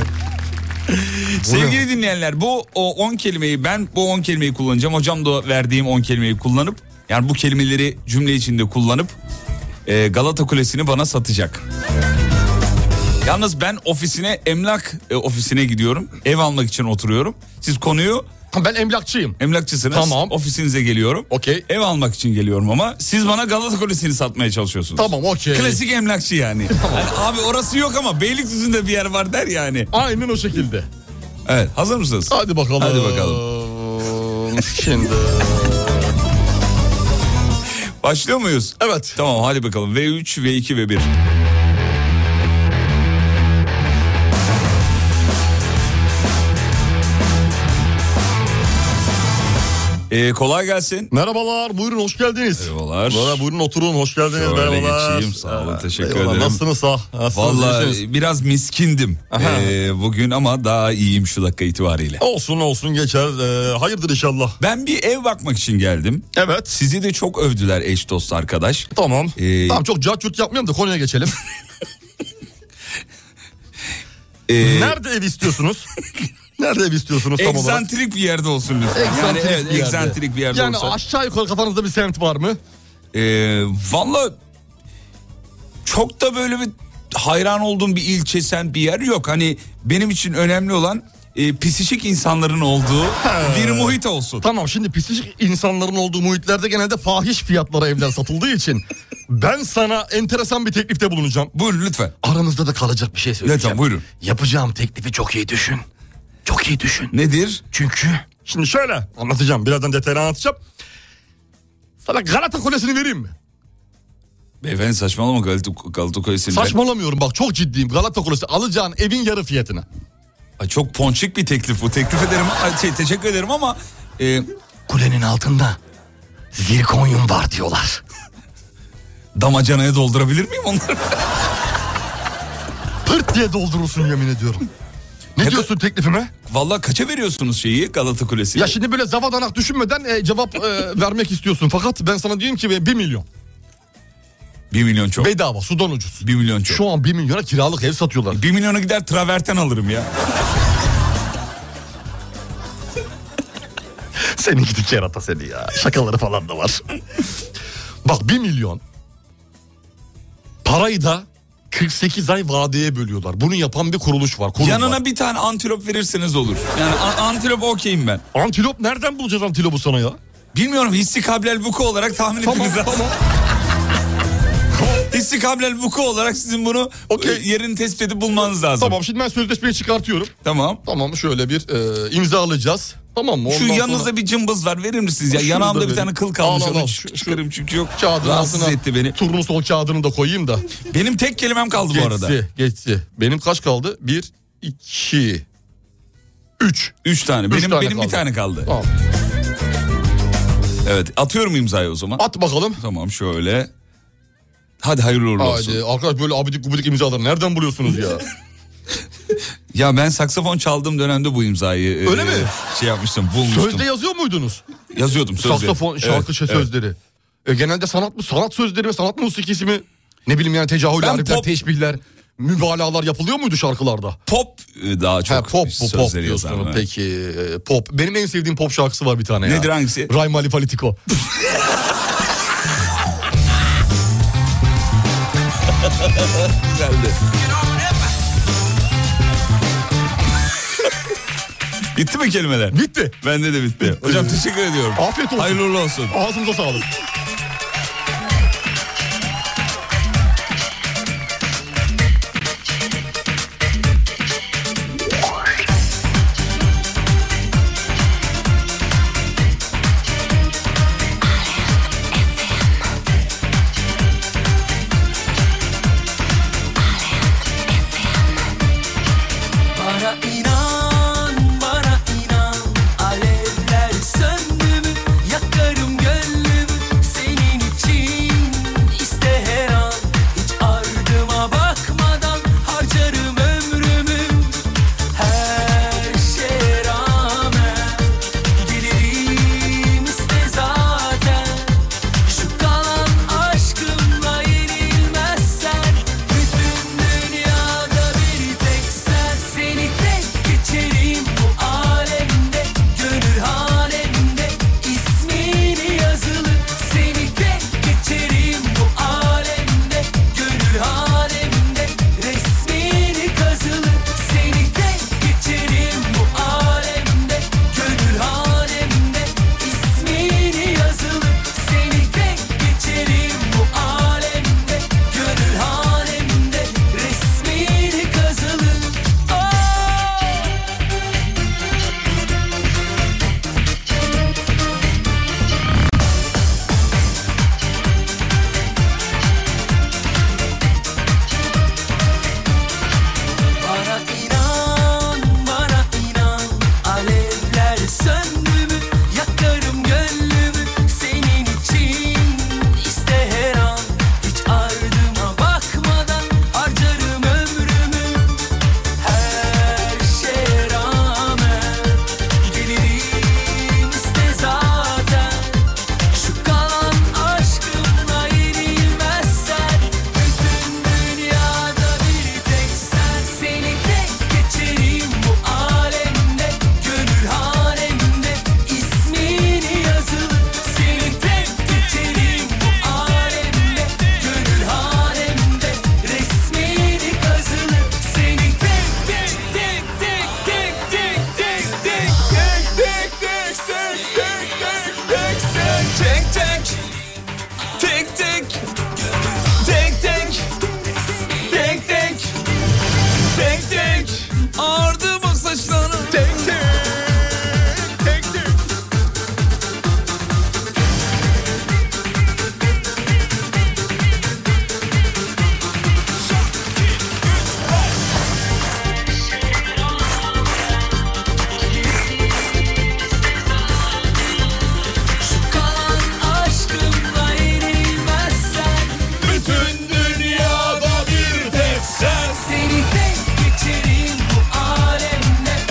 Speaker 2: Sevgili dinleyenler bu o 10 kelimeyi ben bu 10 kelimeyi kullanacağım. Hocam da verdiğim 10 kelimeyi kullanıp yani bu kelimeleri cümle içinde kullanıp e, Galata Kulesi'ni bana satacak. Yalnız ben ofisine emlak e, ofisine gidiyorum. Ev almak için oturuyorum. Siz konuyu
Speaker 3: Ben emlakçıyım.
Speaker 2: emlakçısınız.
Speaker 3: Tamam.
Speaker 2: Ofisinize geliyorum.
Speaker 3: Okey.
Speaker 2: Ev almak için geliyorum ama siz bana Galata Kulesi'ni satmaya çalışıyorsunuz.
Speaker 3: Tamam okey.
Speaker 2: Klasik emlakçı yani. Hani abi orası yok ama Beylikdüzü'nde bir yer var der yani.
Speaker 3: Aynen o şekilde.
Speaker 2: Evet hazır mısınız?
Speaker 3: Hadi bakalım.
Speaker 2: Hadi bakalım.
Speaker 3: Şimdi.
Speaker 2: Başlıyor muyuz?
Speaker 3: Evet.
Speaker 2: Tamam hadi bakalım. V3, V2, V1. Ee, kolay gelsin.
Speaker 3: Merhabalar buyurun hoş geldiniz.
Speaker 2: Merhabalar.
Speaker 3: Merhaba buyurun oturun hoş geldiniz.
Speaker 2: Şöyle
Speaker 3: Merhabalar.
Speaker 2: geçeyim sağ olun teşekkür
Speaker 3: Eyvallah,
Speaker 2: ederim.
Speaker 3: Nasılsınız sağ? Nasılsınız, iyisiniz?
Speaker 2: Valla biraz miskindim ee, bugün ama daha iyiyim şu dakika itibariyle.
Speaker 3: Olsun olsun geçer Ee, hayırdır inşallah.
Speaker 2: Ben bir ev bakmak için geldim.
Speaker 3: Evet.
Speaker 2: Sizi de çok övdüler eş dost arkadaş.
Speaker 3: Tamam.
Speaker 2: Ee,
Speaker 3: Tamam çok cat yurt yapmayalım da konuya geçelim.
Speaker 2: Ee,
Speaker 3: Nerede ev istiyorsunuz? Nerede ev istiyorsunuz tam olarak?
Speaker 2: Eksantrik bir yerde olsun lütfen. yani
Speaker 3: Eksantrik
Speaker 2: evet,
Speaker 3: bir yerde.
Speaker 2: eksantrik bir yerde
Speaker 3: yani
Speaker 2: olsa.
Speaker 3: aşağı yukarı kafanızda bir semt var mı?
Speaker 2: Ee, Valla çok da böyle bir hayran olduğum bir ilçe sen bir yer yok. Hani benim için önemli olan e, pisişik insanların olduğu bir muhit olsun.
Speaker 3: Tamam şimdi pislik insanların olduğu muhitlerde genelde fahiş fiyatlara evler satıldığı için ben sana enteresan bir teklifte bulunacağım.
Speaker 2: Buyurun lütfen.
Speaker 3: Aramızda da kalacak bir şey söyleyeceğim.
Speaker 2: Lütfen buyurun.
Speaker 3: Yapacağım teklifi çok iyi düşün. Çok iyi düşün.
Speaker 2: Nedir?
Speaker 3: Çünkü şimdi şöyle anlatacağım birazdan detaylı anlatacağım. Sana Galata Kulesi'ni vereyim mi?
Speaker 2: Beyefendi saçmalama Galata, Galata Kulesi'ni. ben-
Speaker 3: Saçmalamıyorum bak çok ciddiyim. Galata Kulesi alacağın evin yarı fiyatına.
Speaker 2: Ay, çok ponçik bir teklif bu. Teklif ederim. Ay, şey, teşekkür ederim ama... e,
Speaker 3: Kulenin altında zirkonyum var diyorlar.
Speaker 2: damacanaya doldurabilir miyim onları?
Speaker 3: Pırt diye doldurursun yemin ediyorum. Ne diyorsun teklifime?
Speaker 2: Valla kaça veriyorsunuz şeyi Galata Kulesi'ni?
Speaker 3: Ya şimdi böyle zavadanak düşünmeden e, cevap e, vermek istiyorsun. Fakat ben sana diyeyim ki 1 milyon.
Speaker 2: 1 milyon çok.
Speaker 3: Bedava sudan ucuz.
Speaker 2: 1 milyon çok.
Speaker 3: Şu an 1 milyona kiralık ev satıyorlar.
Speaker 2: 1 milyona gider traverten alırım ya.
Speaker 3: Seni gidi kerata seni ya. Şakaları falan da var. Bak 1 milyon. Parayı da 48 ay vadeye bölüyorlar. Bunu yapan bir kuruluş var. Kurum
Speaker 2: Yanına
Speaker 3: var.
Speaker 2: bir tane antilop verirseniz olur. Yani a- antilop okeyim ben.
Speaker 3: Antilop nereden bulacağız antilopu sana ya?
Speaker 2: Bilmiyorum hissi kablel vuku olarak tahmin
Speaker 3: Tamam
Speaker 2: etmeniz lazım.
Speaker 3: tamam.
Speaker 2: Hissi kablel vuku olarak sizin bunu
Speaker 3: Okey.
Speaker 2: e, yerini tespit edip bulmanız lazım.
Speaker 3: Tamam şimdi ben sözleşmeyi çıkartıyorum.
Speaker 2: Tamam.
Speaker 3: Tamam şöyle bir e, imza alacağız. Tamam mı?
Speaker 2: Şu
Speaker 3: Ondan
Speaker 2: yanınızda
Speaker 3: sonra
Speaker 2: bir cımbız var verir misiniz ya?
Speaker 3: Şunu da
Speaker 2: Yanağımda bir
Speaker 3: verin.
Speaker 2: tane kıl kalmış.
Speaker 3: Al, al,
Speaker 2: Onu
Speaker 3: al.
Speaker 2: çı-
Speaker 3: Şu-
Speaker 2: çıkarım çünkü yok.
Speaker 3: kağıdın
Speaker 2: Rahatsız
Speaker 3: altına
Speaker 2: etti beni.
Speaker 3: Turnusol kağıdını da koyayım da.
Speaker 2: Benim tek kelimem kaldı bu arada.
Speaker 3: Geçti, geçti. Benim kaç kaldı? Bir, iki, üç.
Speaker 2: Üç tane. Benim
Speaker 3: tane
Speaker 2: benim
Speaker 3: kaldı. Ah.
Speaker 2: bir tane kaldı.
Speaker 3: Tamam.
Speaker 2: Evet atıyorum imzayı o zaman.
Speaker 3: At bakalım.
Speaker 2: Tamam şöyle. Hadi hayırlı uğurlu olsun.
Speaker 3: Haydi arkadaş böyle abidik gubidik imzaları nereden buluyorsunuz ya?
Speaker 2: Ya ben saksafon çaldığım dönemde bu imzayı
Speaker 3: Öyle mi?
Speaker 2: şey yapmıştım bulmuştum.
Speaker 3: Sözde yazıyor muydunuz?
Speaker 2: Yazıyordum sözde.
Speaker 3: Saksafon, şarkı şey sözleri. E, genelde sanat mı? Sanat sözleri ve sanat musikisi mi? Ne bileyim yani tecahül,
Speaker 2: Ben
Speaker 3: harfler,
Speaker 2: pop-
Speaker 3: teşbihler, mübalağalar yapılıyor muydu şarkılarda?
Speaker 2: Pop e, daha çok
Speaker 3: Ha, pop bu pop
Speaker 2: sözleri yazardım.
Speaker 3: diyorsun.
Speaker 2: evet.
Speaker 3: Peki e, pop. Benim en sevdiğim pop şarkısı var bir tane ya.
Speaker 2: Nedir, hangisi?
Speaker 3: Ray Malifalitiko.
Speaker 2: Güzeldi. bitti mi kelimeler?
Speaker 3: Bitti.
Speaker 2: Bende de bitti. Hocam teşekkür ediyorum.
Speaker 3: Afiyet olsun.
Speaker 2: Hayırlı uğurlu olsun.
Speaker 3: Ağzımıza sağlık.
Speaker 4: Bana inan, bana inan Alevler söndü mü, yakarım gönlümü
Speaker 10: Oh!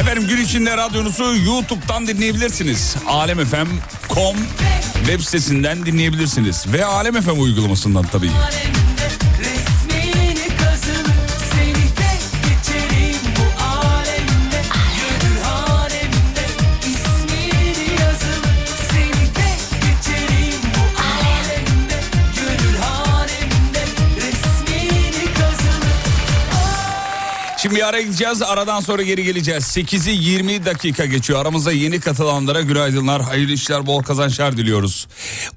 Speaker 2: Alem Radyonuzu YouTube'dan dinleyebilirsiniz. Alemfm.com web sitesinden dinleyebilirsiniz. Ve Alem FM uygulamasından tabii.
Speaker 1: Resmini kazın seni de geçerim bu alemde Gönül halemde ismini yazın seni de geçerim bu alemde Gönül halemde resmini kazın
Speaker 2: Şimdi bir ara gideceğiz. Aradan sonra geri geleceğiz. 8'i 20 dakika geçiyor. Aramıza yeni katılanlara günaydınlar. Hayırlı işler, bol kazançlar diliyoruz.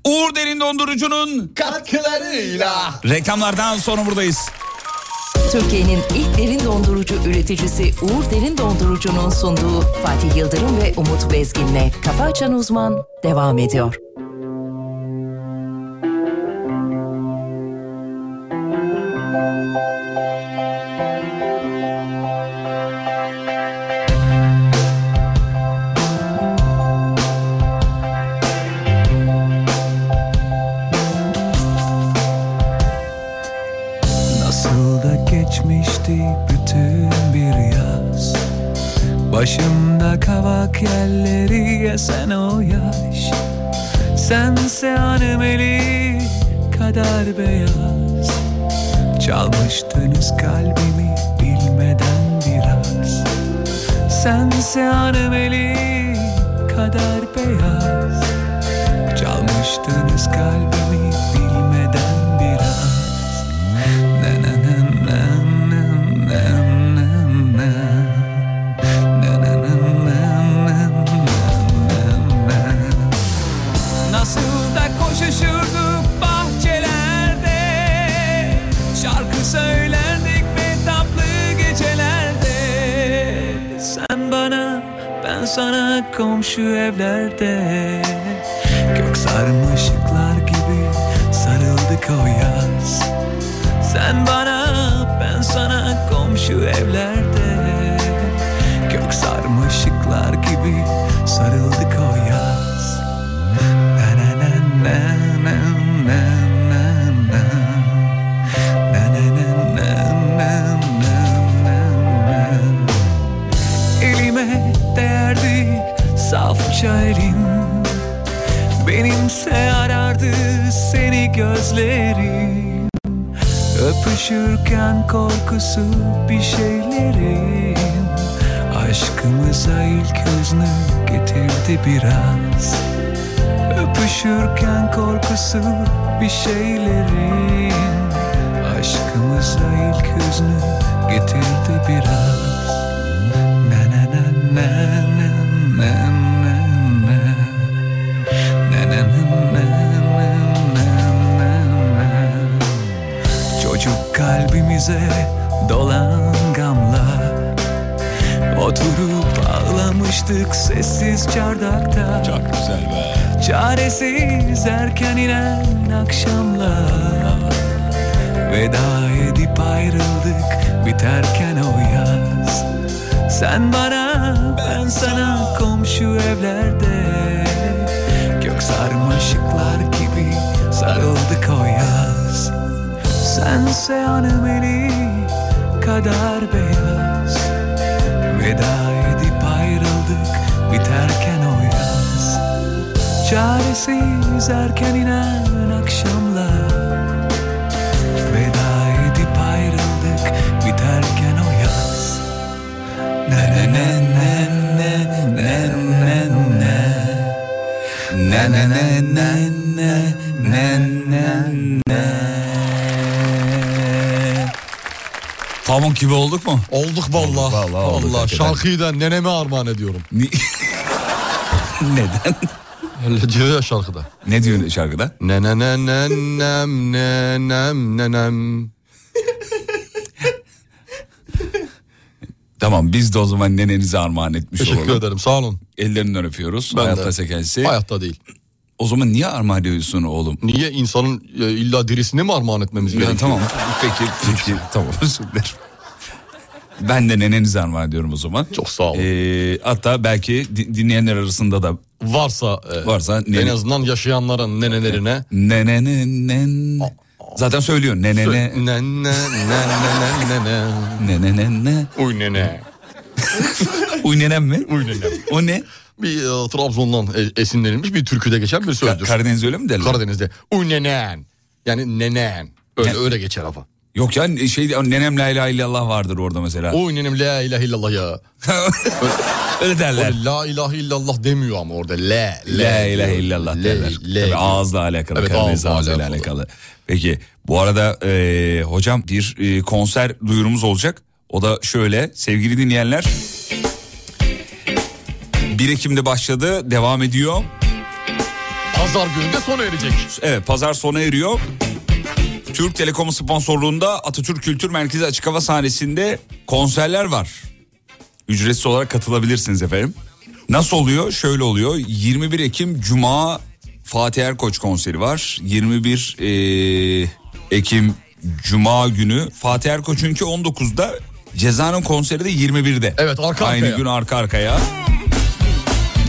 Speaker 2: Uğur Derin Dondurucu'nun
Speaker 6: katkılarıyla
Speaker 2: reklamlardan sonra buradayız.
Speaker 6: Türkiye'nin ilk derin dondurucu üreticisi Uğur Derin Dondurucu'nun sunduğu Fatih Yıldırım ve Umut Bezgin'le Kafa Açan Uzman devam ediyor.
Speaker 8: Nasıl da geçmişti bütün bir yaz Başımda kavak yerleri esen o yaş Sense anemeli kadar beyaz Çalmıştınız kalbimi bilmeden biraz Sense anemeli kadar beyaz Çalmıştınız kalbimi bilmeden biraz Nasıl da koşuşurduk bahçelerde Şarkı söylerdik ve tatlı gecelerde Sen bana ben sana komşu evlerde Kök sarmaşıklar gibi sarıldık o yaz Sen bana ben sana komşu evlerde Kök sarmaşıklar gibi sarıldık o yaz Elime değerdi safça elin Benimse arardı seni gözlerim Öpüşürken korkusu bir şeylerin Aşkımıza ilk hüznü getirdi biraz Öpüşürken korkusu bir şeylerin Aşkımıza ilk hüznü getirdi biraz Na na na na na na na na Na na na na na na na Çocuk kalbimize dolan gamlar Oturup ağlamıştık sessiz çardakta Çok güzel be Çaresiz erken inen akşamlar Veda edip ayrıldık biterken o yaz Sen bana ben sana komşu evlerde Gök sarmaşıklar gibi sarıldık o yaz Sense anemeli kadar beyaz Veda edip ayrıldık biterken o yaz Çaresiz erken inen akşamlar Veda edip ayrıldık biterken o yaz Ne ne ne ne ne ne ne ne Ne ne ne ne ne ne ne ne
Speaker 2: Pamuk gibi olduk mu?
Speaker 3: Olduk vallahi. Vallahi,
Speaker 2: olduk hakikaten.
Speaker 3: şarkıyı da neneme armağan ediyorum.
Speaker 2: Neden?
Speaker 3: Öyle diyor ya şarkıda.
Speaker 2: Ne diyor şarkıda?
Speaker 3: Nenenem nenem nenem nenem.
Speaker 2: Tamam biz de o zaman nenenize armağan etmiş
Speaker 3: Teşekkür
Speaker 2: olalım.
Speaker 3: ederim sağ olun.
Speaker 2: Ellerinden öpüyoruz.
Speaker 3: Ben
Speaker 2: Hayatta
Speaker 3: de.
Speaker 2: sekelsi.
Speaker 3: Hayatta değil.
Speaker 2: O zaman niye armağan ediyorsun oğlum?
Speaker 3: Niye insanın e, illa dirisini mi armağan etmemiz
Speaker 2: Ya
Speaker 3: gerekiyor?
Speaker 2: tamam peki peki tamam özür dilerim. Ben de nenenize armağan ediyorum o zaman. Ee,
Speaker 3: Çok sağ olun.
Speaker 2: hatta belki di- dinleyenler arasında da
Speaker 3: varsa e,
Speaker 2: varsa
Speaker 3: en azından yaşayanların nenelerine.
Speaker 2: nene nen zaten söylüyor nene ne
Speaker 3: Sö- Nene nene
Speaker 2: nene
Speaker 3: nene.
Speaker 2: nene
Speaker 3: Uy nene.
Speaker 2: Uynenem mi?
Speaker 3: Uynenem.
Speaker 2: O ne?
Speaker 3: Bir e, Trabzon'dan e, esinlenilmiş bir türküde geçen bir sözdür.
Speaker 2: Karadeniz'de öyle mi derler?
Speaker 3: Karadeniz'de. Uynenen. Yani nenen. Öyle, öyle geçer ama.
Speaker 2: Yok yani şey nenem la ilahe illallah vardır orada mesela.
Speaker 3: Uynenem la ilahe illallah ya.
Speaker 2: öyle derler.
Speaker 3: O la ilahe illallah demiyor ama orada. La.
Speaker 2: La ilahe illallah derler. Tabii ağızla alakalı,
Speaker 3: Evet,
Speaker 2: Karadeniz
Speaker 3: ağızla
Speaker 2: ağzıyla alakalı. Peki bu arada e, hocam bir e, konser duyurumuz olacak. O da şöyle sevgili dinleyenler. 1 Ekim'de başladı devam ediyor.
Speaker 3: Pazar günü de sona erecek.
Speaker 2: Evet pazar sona eriyor. Türk Telekom'un sponsorluğunda Atatürk Kültür Merkezi açık hava sahnesinde konserler var. Ücretsiz olarak katılabilirsiniz efendim. Nasıl oluyor? Şöyle oluyor. 21 Ekim Cuma Fatih Erkoç konseri var. 21 eee, Ekim Cuma günü Fatih Erkoç'un ki 19'da Ceza'nın konseri de 21'de. Evet
Speaker 3: arka
Speaker 2: Aynı
Speaker 3: arkaya.
Speaker 2: gün arka arkaya.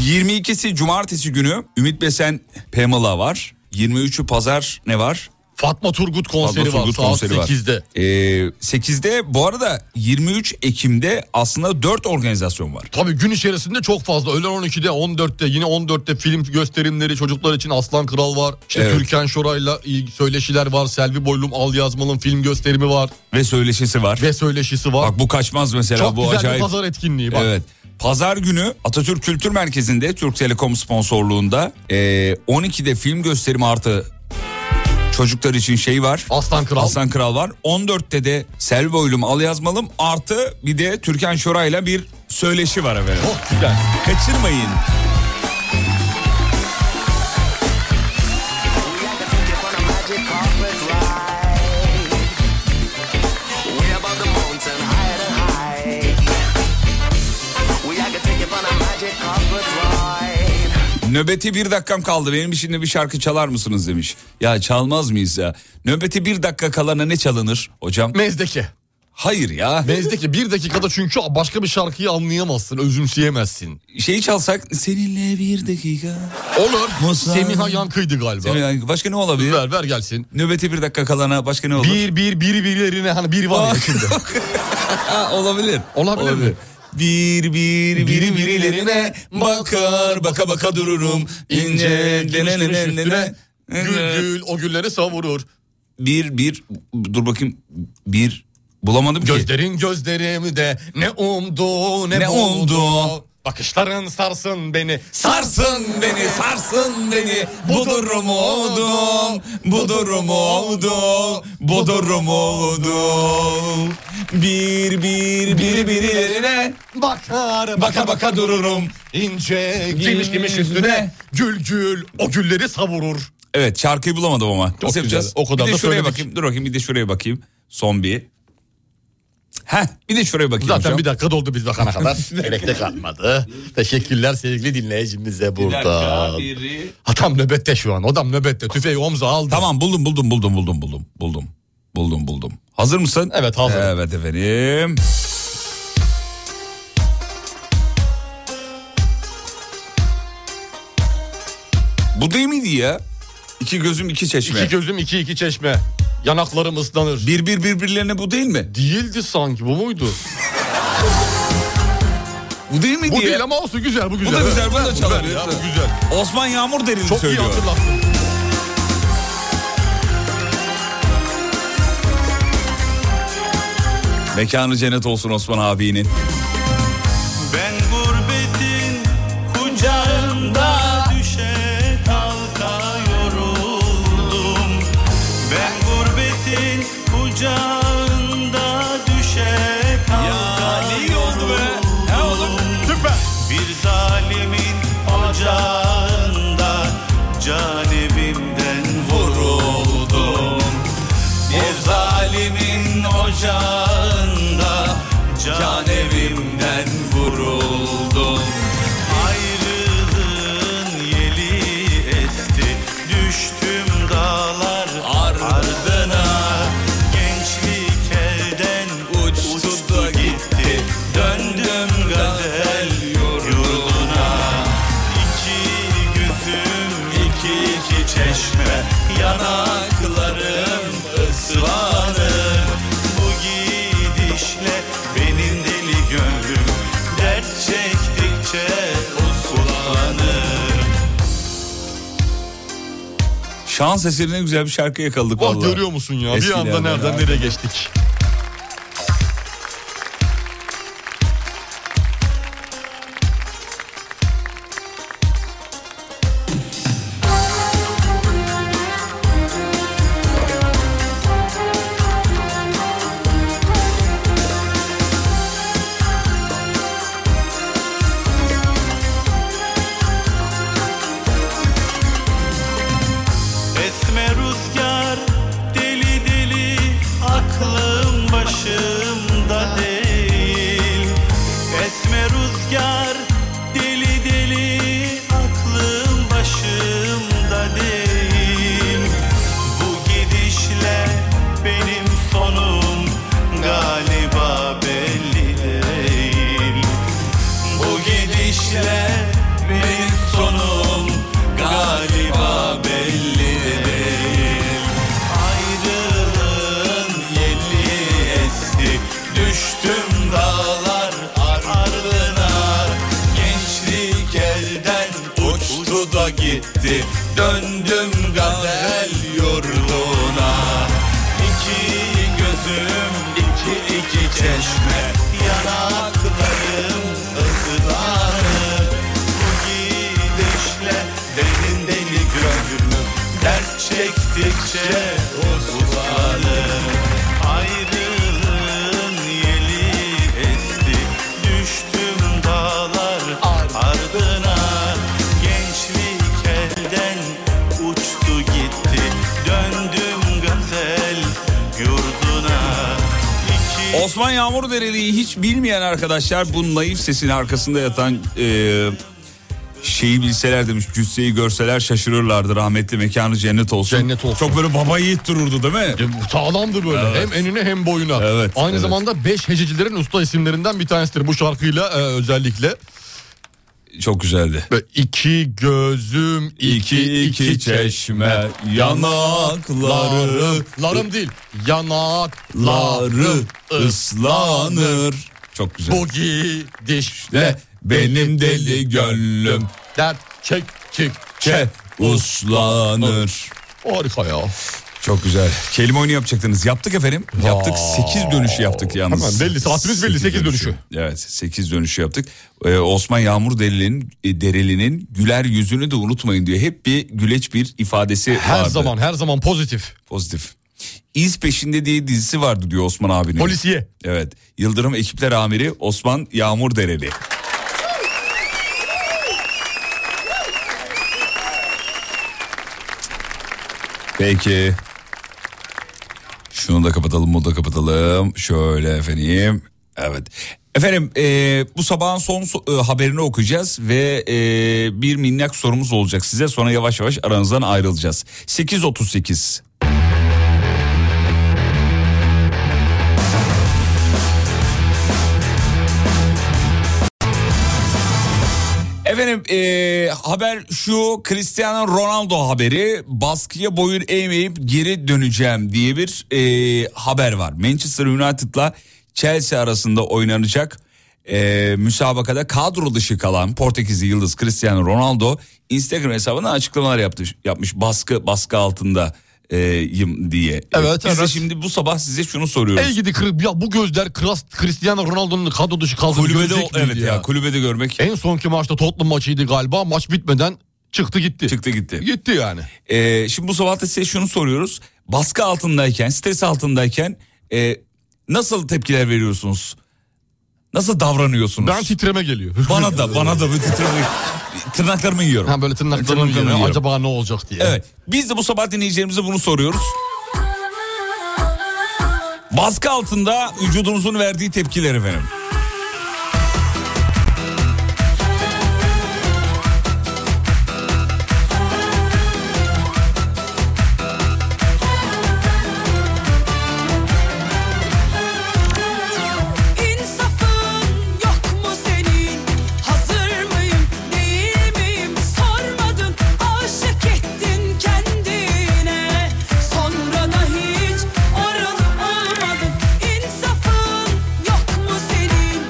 Speaker 2: 22'si Cumartesi günü Ümit Besen Pamela var. 23'ü Pazar ne var?
Speaker 3: Fatma Turgut konseri
Speaker 2: Fatma Turgut
Speaker 3: var saat
Speaker 2: konseri var.
Speaker 3: 8'de.
Speaker 2: Ee, 8'de bu arada 23 Ekim'de aslında 4 organizasyon var.
Speaker 3: Tabii gün içerisinde çok fazla. Öğlen 12'de, 14'te, yine 14'te film gösterimleri çocuklar için Aslan Kral var. İşte
Speaker 2: Evet.
Speaker 3: Türkan Şoray'la iyi söyleşiler var. Selvi Boylum, Al Yazmal'ın film gösterimi var.
Speaker 2: Ve söyleşisi var.
Speaker 3: Ve söyleşisi var.
Speaker 2: Bak bu kaçmaz mesela
Speaker 3: Çok
Speaker 2: bu
Speaker 3: güzel
Speaker 2: acayip.
Speaker 3: bir pazar etkinliği bak.
Speaker 2: Evet. Pazar günü Atatürk Kültür Merkezi'nde Türk Telekom sponsorluğunda ee, 12'de film gösterimi artı çocuklar için şey var.
Speaker 3: Aslan Kral.
Speaker 2: Aslan Kral var. 14'te de Selvi Oylum Al Yazmalım artı bir de Türkan Şoray'la bir söyleşi var efendim.
Speaker 3: Çok Oh, güzel.
Speaker 2: Kaçırmayın. Nöbeti bir dakikam kaldı. Benim şimdi bir şarkı çalar mısınız demiş. Ya çalmaz mıyız ya? Nöbeti bir dakika kalana ne çalınır hocam?
Speaker 3: Mezdeke.
Speaker 2: Hayır ya.
Speaker 3: Mezdeki bir dakikada çünkü başka bir şarkıyı anlayamazsın, özümseyemezsin.
Speaker 2: Şeyi çalsak seninle bir dakika.
Speaker 3: Olur.
Speaker 2: Musa-
Speaker 3: Semiha Yankı'ydı galiba.
Speaker 2: Semiha Yankı. Başka ne olabilir?
Speaker 3: Ver ver gelsin.
Speaker 2: Nöbeti bir dakika kalana başka ne olur?
Speaker 3: Bir bir biri birilerine hani bir
Speaker 2: Ah,
Speaker 3: var ya şimdi.
Speaker 2: Ha, olabilir.
Speaker 3: Olabilir, mi?
Speaker 2: Bir bir biri birilerine bakar baka baka dururum ince dene dene dene.
Speaker 3: Gül gül o gülleri savurur.
Speaker 2: Bir bir dur bakayım bir bulamadım ki.
Speaker 3: Gözlerin gözlerimde ne umdu ne,
Speaker 2: Ne
Speaker 3: buldu.
Speaker 2: umdu.
Speaker 3: Bakışların sarsın beni.
Speaker 2: Sarsın beni, sarsın beni. Bu durum oldum, bu durum oldum, bu durum oldum. Bir bir biri birilerine
Speaker 3: bakar
Speaker 2: baka baka dururum.
Speaker 3: ince giymiş giymiş üstüne. Gül gül o gülleri savurur.
Speaker 2: Evet şarkıyı bulamadım ama. Nasıl
Speaker 3: güzel,
Speaker 2: yapacağız?
Speaker 3: o kadar
Speaker 2: bir de
Speaker 3: da
Speaker 2: şuraya
Speaker 3: söyledik.
Speaker 2: bakayım. Dur bakayım bir de şuraya bakayım. Son bir. Heh bir de şuraya bakayım.
Speaker 3: Zaten
Speaker 2: hocam.
Speaker 3: bir dakika doldu biz bakana kadar. Gerek de kalmadı. Teşekkürler sevgili dinleyicimize buradan. Adam nöbette şu an. Adam nöbette. Tüfeği omza aldı.
Speaker 2: Tamam buldum buldum buldum buldum buldum buldum. Buldum buldum. Hazır mısın?
Speaker 3: Evet hazırım.
Speaker 2: Evet efendim. Bu değil miydi ya? İki gözüm iki çeşme.
Speaker 3: İki gözüm iki iki çeşme. Yanaklarım ıslanır.
Speaker 2: Bir bir birbirlerine bu değil mi?
Speaker 3: Değildi sanki bu muydu?
Speaker 2: Bu değil miydi
Speaker 3: bu
Speaker 2: ya?
Speaker 3: değil ama olsun güzel bu güzel.
Speaker 2: da güzel, bunu da
Speaker 3: bu
Speaker 2: çalar.
Speaker 3: güzel ya, bu güzel.
Speaker 2: Osman Yağmur derin
Speaker 3: Çok
Speaker 2: söylüyor.
Speaker 3: iyi hatırlattın.
Speaker 2: Mekanı cennet olsun Osman abinin.
Speaker 8: Ben gurbetin kucağında düşe kalka yoruldum. Ben gurbetin kucağında düşe kalka yoruldum. Bir zalimin ocağında canibimden vuruldum. Bir zalimin ocağında can evimden vuruldum. Ayrılığın yeli esti, düştüm dağlar ardına. Gençlik elden uçtu, da gitti, döndüm gazel yurduna. İki gözüm, iki iki çeşme, yanaklarım ıslanır. Bu gidişle benim deli gönlüm dert çekti.
Speaker 2: Şans eserine güzel bir şarkı yakaladık
Speaker 3: Bak
Speaker 2: vallahi.
Speaker 3: görüyor musun ya? bir
Speaker 2: Eskilerden
Speaker 3: anda nereden
Speaker 2: abi.
Speaker 3: nereye geçtik?
Speaker 8: Esme rüzgar deli deli aklım başımda değil Esme rüzgar deli deli aklım başımda değil Bu gidişle benim sonum galiba belli değil Bu gidişle benim sonum galiba belli değil Ayrılığın yeli eski Düştüm dağlar ardına Gençlik elden uçtu da gitti Döndüm gazel yurduna İki gözüm iki iki çeşme Yanaklarım ıslanır Bu gidişle derin deli gönlüm Dert çektikçe uzanır Ayrılığın yeli esti Düştüm dağlar ardına Gençlik elden uçtu gitti Döndüm gazel yurduna
Speaker 2: Osman Yağmur Dereli'yi hiç bilmeyen arkadaşlar bu naif sesin arkasında yatan e, şeyi bilseler demiş cüsseyi görseler şaşırırlardı rahmetli mekanı cennet olsun. Cennet olsun. Çok böyle baba yiğit dururdu değil mi?
Speaker 3: Sağlamdı böyle. Hem enine hem boyuna.
Speaker 2: Evet,
Speaker 3: Aynı
Speaker 2: evet.
Speaker 3: zamanda 5 hececilerin usta isimlerinden bir tanesidir bu şarkıyla e, özellikle.
Speaker 2: Çok güzeldi.
Speaker 3: Ve iki gözüm iki iki, çeşme yanakları larım değil yanakları ıslanır.
Speaker 2: Çok güzel.
Speaker 3: Bu gidişle
Speaker 2: benim deli gönlüm
Speaker 3: dert çek çek
Speaker 2: Çe uslanır.
Speaker 3: Harika ya.
Speaker 2: Çok güzel. Kelime oyunu yapacaktınız. Yaptık efendim. Yaptık. 8 dönüşü yaptık yalnız.
Speaker 3: Hemen belli. Saatimiz belli.
Speaker 2: Sekiz
Speaker 3: 8 dönüşü.
Speaker 2: Evet 8 dönüşü yaptık. Ee, Osman Yağmur Dereli'nin e, Dereli'nin güler yüzünü de unutmayın diyor. Hep bir güleç bir ifadesi
Speaker 3: Her
Speaker 2: vardı.
Speaker 3: zaman her zaman pozitif.
Speaker 2: Pozitif. İz peşinde diye dizisi vardı diyor Osman abinin.
Speaker 3: Polisiye.
Speaker 2: Evet. Yıldırım ekipler amiri Osman Yağmur Dereli. Peki. Şunu da kapatalım, bunu da kapatalım. Şöyle efendim. Evet. Efendim e, bu sabahın son so- e, haberini okuyacağız ve e, bir minnak sorumuz olacak size. Sonra yavaş yavaş aranızdan ayrılacağız. 8.38. Efendim e, haber şu Cristiano Ronaldo haberi baskıya boyun eğmeyip geri döneceğim diye bir e, haber var. Manchester United'la Chelsea arasında oynanacak e, müsabakada kadro dışı kalan Portekizli yıldız Cristiano Ronaldo Instagram hesabına açıklamalar yaptı, yapmış baskı baskı altında e, yim diye.
Speaker 3: Evet,
Speaker 2: Biz de
Speaker 3: evet.
Speaker 2: şimdi bu sabah size şunu soruyoruz.
Speaker 3: Ey gidi kır, ya bu gözler Kras, Cristiano Ronaldo'nun kadro dışı kaldığını
Speaker 2: Kulübede
Speaker 3: görecek
Speaker 2: o-
Speaker 3: miydi
Speaker 2: evet ya, kulübede görmek.
Speaker 3: En sonki maçta Tottenham maçıydı galiba. Maç bitmeden çıktı gitti.
Speaker 2: Çıktı gitti.
Speaker 3: Gitti yani.
Speaker 2: Ee, şimdi bu sabah da size şunu soruyoruz. Baskı altındayken, stres altındayken e, nasıl tepkiler veriyorsunuz? Nasıl davranıyorsunuz?
Speaker 3: Ben titreme geliyor.
Speaker 2: Bana da, bana da bir titreme. Tırnaklarımı yiyorum.
Speaker 3: Ha böyle tırnaklarını
Speaker 2: Tırnaklarımı
Speaker 3: yiyor.
Speaker 2: yiyorum.
Speaker 3: Acaba ne olacak diye.
Speaker 2: Evet. Biz de bu sabah dinleyicilerimize bunu soruyoruz. Baskı altında vücudunuzun verdiği tepkiler efendim.
Speaker 10: İnsafın yok mu senin? Hazır mıyım, değil miyim? Sormadın, aşık ettin kendine. Sonra da hiç oralı olmadın. İnsafın yok mu senin?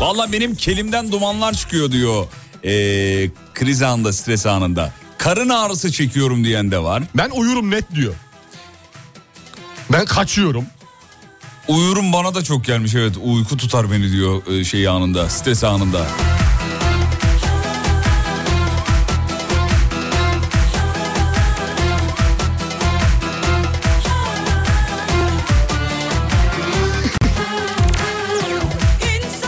Speaker 2: Valla benim kelimden dumanlar çıkıyor diyor. Ee, kriz anında, stres anında. Karın ağrısı çekiyorum diyen de var.
Speaker 3: Ben uyurum net diyor. Ben kaçıyorum.
Speaker 2: Uyurum bana da çok gelmiş evet. Uyku tutar beni diyor e, şey anında, stres anında.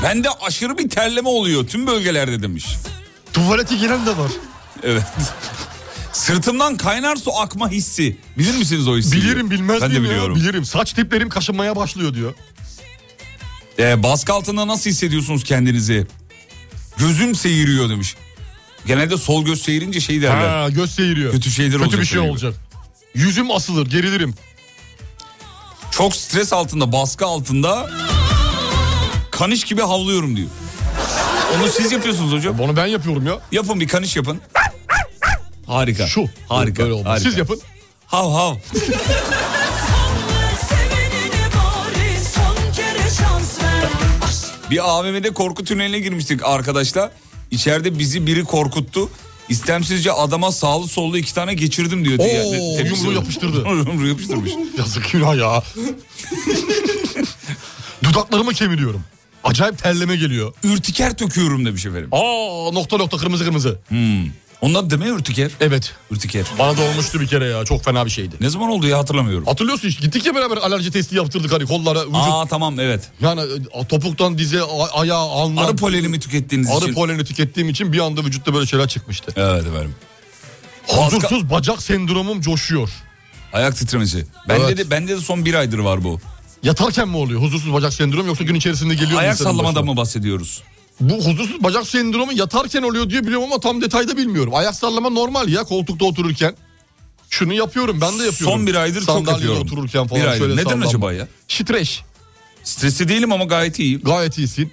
Speaker 2: Bende aşırı bir terleme oluyor tüm bölgelerde demiş.
Speaker 3: Tuvalete giren de var.
Speaker 2: Evet. Sırtımdan kaynar su akma hissi. Bilir misiniz o hissi?
Speaker 3: Bilirim
Speaker 2: Ben
Speaker 3: bilmez
Speaker 2: de
Speaker 3: miyim ya?
Speaker 2: biliyorum.
Speaker 3: Bilirim. Saç tiplerim kaşınmaya başlıyor diyor.
Speaker 2: Ee, baskı altında nasıl hissediyorsunuz kendinizi? Gözüm seyiriyor demiş. Genelde sol göz seyirince şey derler.
Speaker 3: Ha, göz seyiriyor.
Speaker 2: Kötü şeyler
Speaker 3: Kötü
Speaker 2: olacak
Speaker 3: bir şey
Speaker 2: benim gibi.
Speaker 3: olacak. Yüzüm asılır, gerilirim.
Speaker 2: Çok stres altında, baskı altında kaniş gibi havlıyorum diyor. Onu siz yapıyorsunuz hocam.
Speaker 3: Onu ben yapıyorum ya.
Speaker 2: Yapın bir kaniş yapın. Harika. Şu. Harika.
Speaker 3: Böyle olmaz.
Speaker 2: harika.
Speaker 3: Siz yapın.
Speaker 2: Hav hav.
Speaker 13: Bari son kere şans ver
Speaker 2: Bir AVM'de korku tüneline girmiştik arkadaşlar. İçeride bizi biri korkuttu. İstemsizce adama sağlı sollu iki tane geçirdim diyor.
Speaker 3: Oo,
Speaker 2: diye- tepkisi
Speaker 3: yumruğu
Speaker 2: oldu.
Speaker 3: yapıştırdı.
Speaker 2: yumruğu yapıştırmış.
Speaker 3: Yazık günah ya. Dudaklarımı kemiriyorum. Acayip terleme geliyor.
Speaker 2: Ürtiker töküyorum demiş efendim.
Speaker 3: Aa nokta nokta kırmızı kırmızı.
Speaker 2: Hmm. Onun adı değil mi ürtiker?
Speaker 3: Evet.
Speaker 2: Ürtiker.
Speaker 3: Bana da olmuştu bir kere ya. Çok fena bir şeydi.
Speaker 2: Ne zaman oldu ya hatırlamıyorum.
Speaker 3: Hatırlıyorsun işte gittik ya beraber alerji testi yaptırdık hani kollara, vücut.
Speaker 2: Aa tamam evet.
Speaker 3: Yani e, topuktan dize, a- ayağa, alnına.
Speaker 2: Arı poleni mi tükettiğiniz
Speaker 3: Arı
Speaker 2: için?
Speaker 3: poleni tükettiğim için bir anda vücutta böyle şeyler çıkmıştı.
Speaker 2: Evet efendim.
Speaker 3: Huzursuz bacak sendromum coşuyor.
Speaker 2: Ayak titremesi. Bende
Speaker 3: Evet.
Speaker 2: de bende de son bir aydır var bu.
Speaker 3: Yatarken mi oluyor huzursuz bacak sendromu yoksa gün içerisinde geliyor mu
Speaker 2: Ayak
Speaker 3: insanın
Speaker 2: sallamadan
Speaker 3: başına?
Speaker 2: mı bahsediyoruz?
Speaker 3: Bu huzursuz bacak sendromu yatarken oluyor diye biliyorum ama tam detayda bilmiyorum. Ayak sallama normal ya koltukta otururken. Şunu yapıyorum ben de yapıyorum.
Speaker 2: Son bir aydır
Speaker 3: Sandalyede
Speaker 2: çok yapıyorum.
Speaker 3: otururken falan
Speaker 2: bir aydır.
Speaker 3: şöyle
Speaker 2: Neden
Speaker 3: sallanma.
Speaker 2: acaba ya?
Speaker 3: Streç.
Speaker 2: Stresi değilim ama gayet iyiyim.
Speaker 3: Gayet iyisin.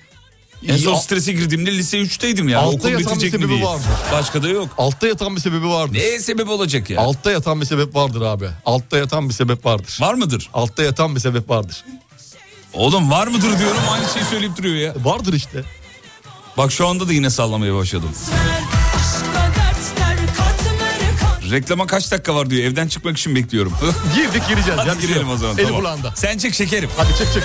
Speaker 2: En son
Speaker 3: İyi,
Speaker 2: strese girdiğimde lise 3'teydim yani.
Speaker 3: Altta
Speaker 2: Okul
Speaker 3: yatan bir
Speaker 2: bitecek mi
Speaker 3: sebebi
Speaker 2: değil.
Speaker 3: vardır.
Speaker 2: Başka da yok.
Speaker 3: Altta yatan bir sebebi vardır.
Speaker 2: Ne sebebi olacak ya?
Speaker 3: Altta yatan bir sebep vardır abi. Altta yatan bir sebep vardır.
Speaker 2: Var mıdır?
Speaker 3: Altta yatan bir sebep vardır.
Speaker 2: Oğlum var mıdır diyorum aynı şeyi söyleyip duruyor ya.
Speaker 3: Vardır işte.
Speaker 2: Bak şu anda da yine sallamaya başladım.
Speaker 13: Aşkla dertler katmer kat
Speaker 2: Reklama kaç dakika var diyor. Evden çıkmak için bekliyorum.
Speaker 3: Girdik gireceğiz.
Speaker 2: Hadi
Speaker 3: ya,
Speaker 2: girelim o zaman.
Speaker 3: Eli
Speaker 2: tamam.
Speaker 3: kulağında.
Speaker 2: Sen çık şekerim.
Speaker 3: Hadi çık çık.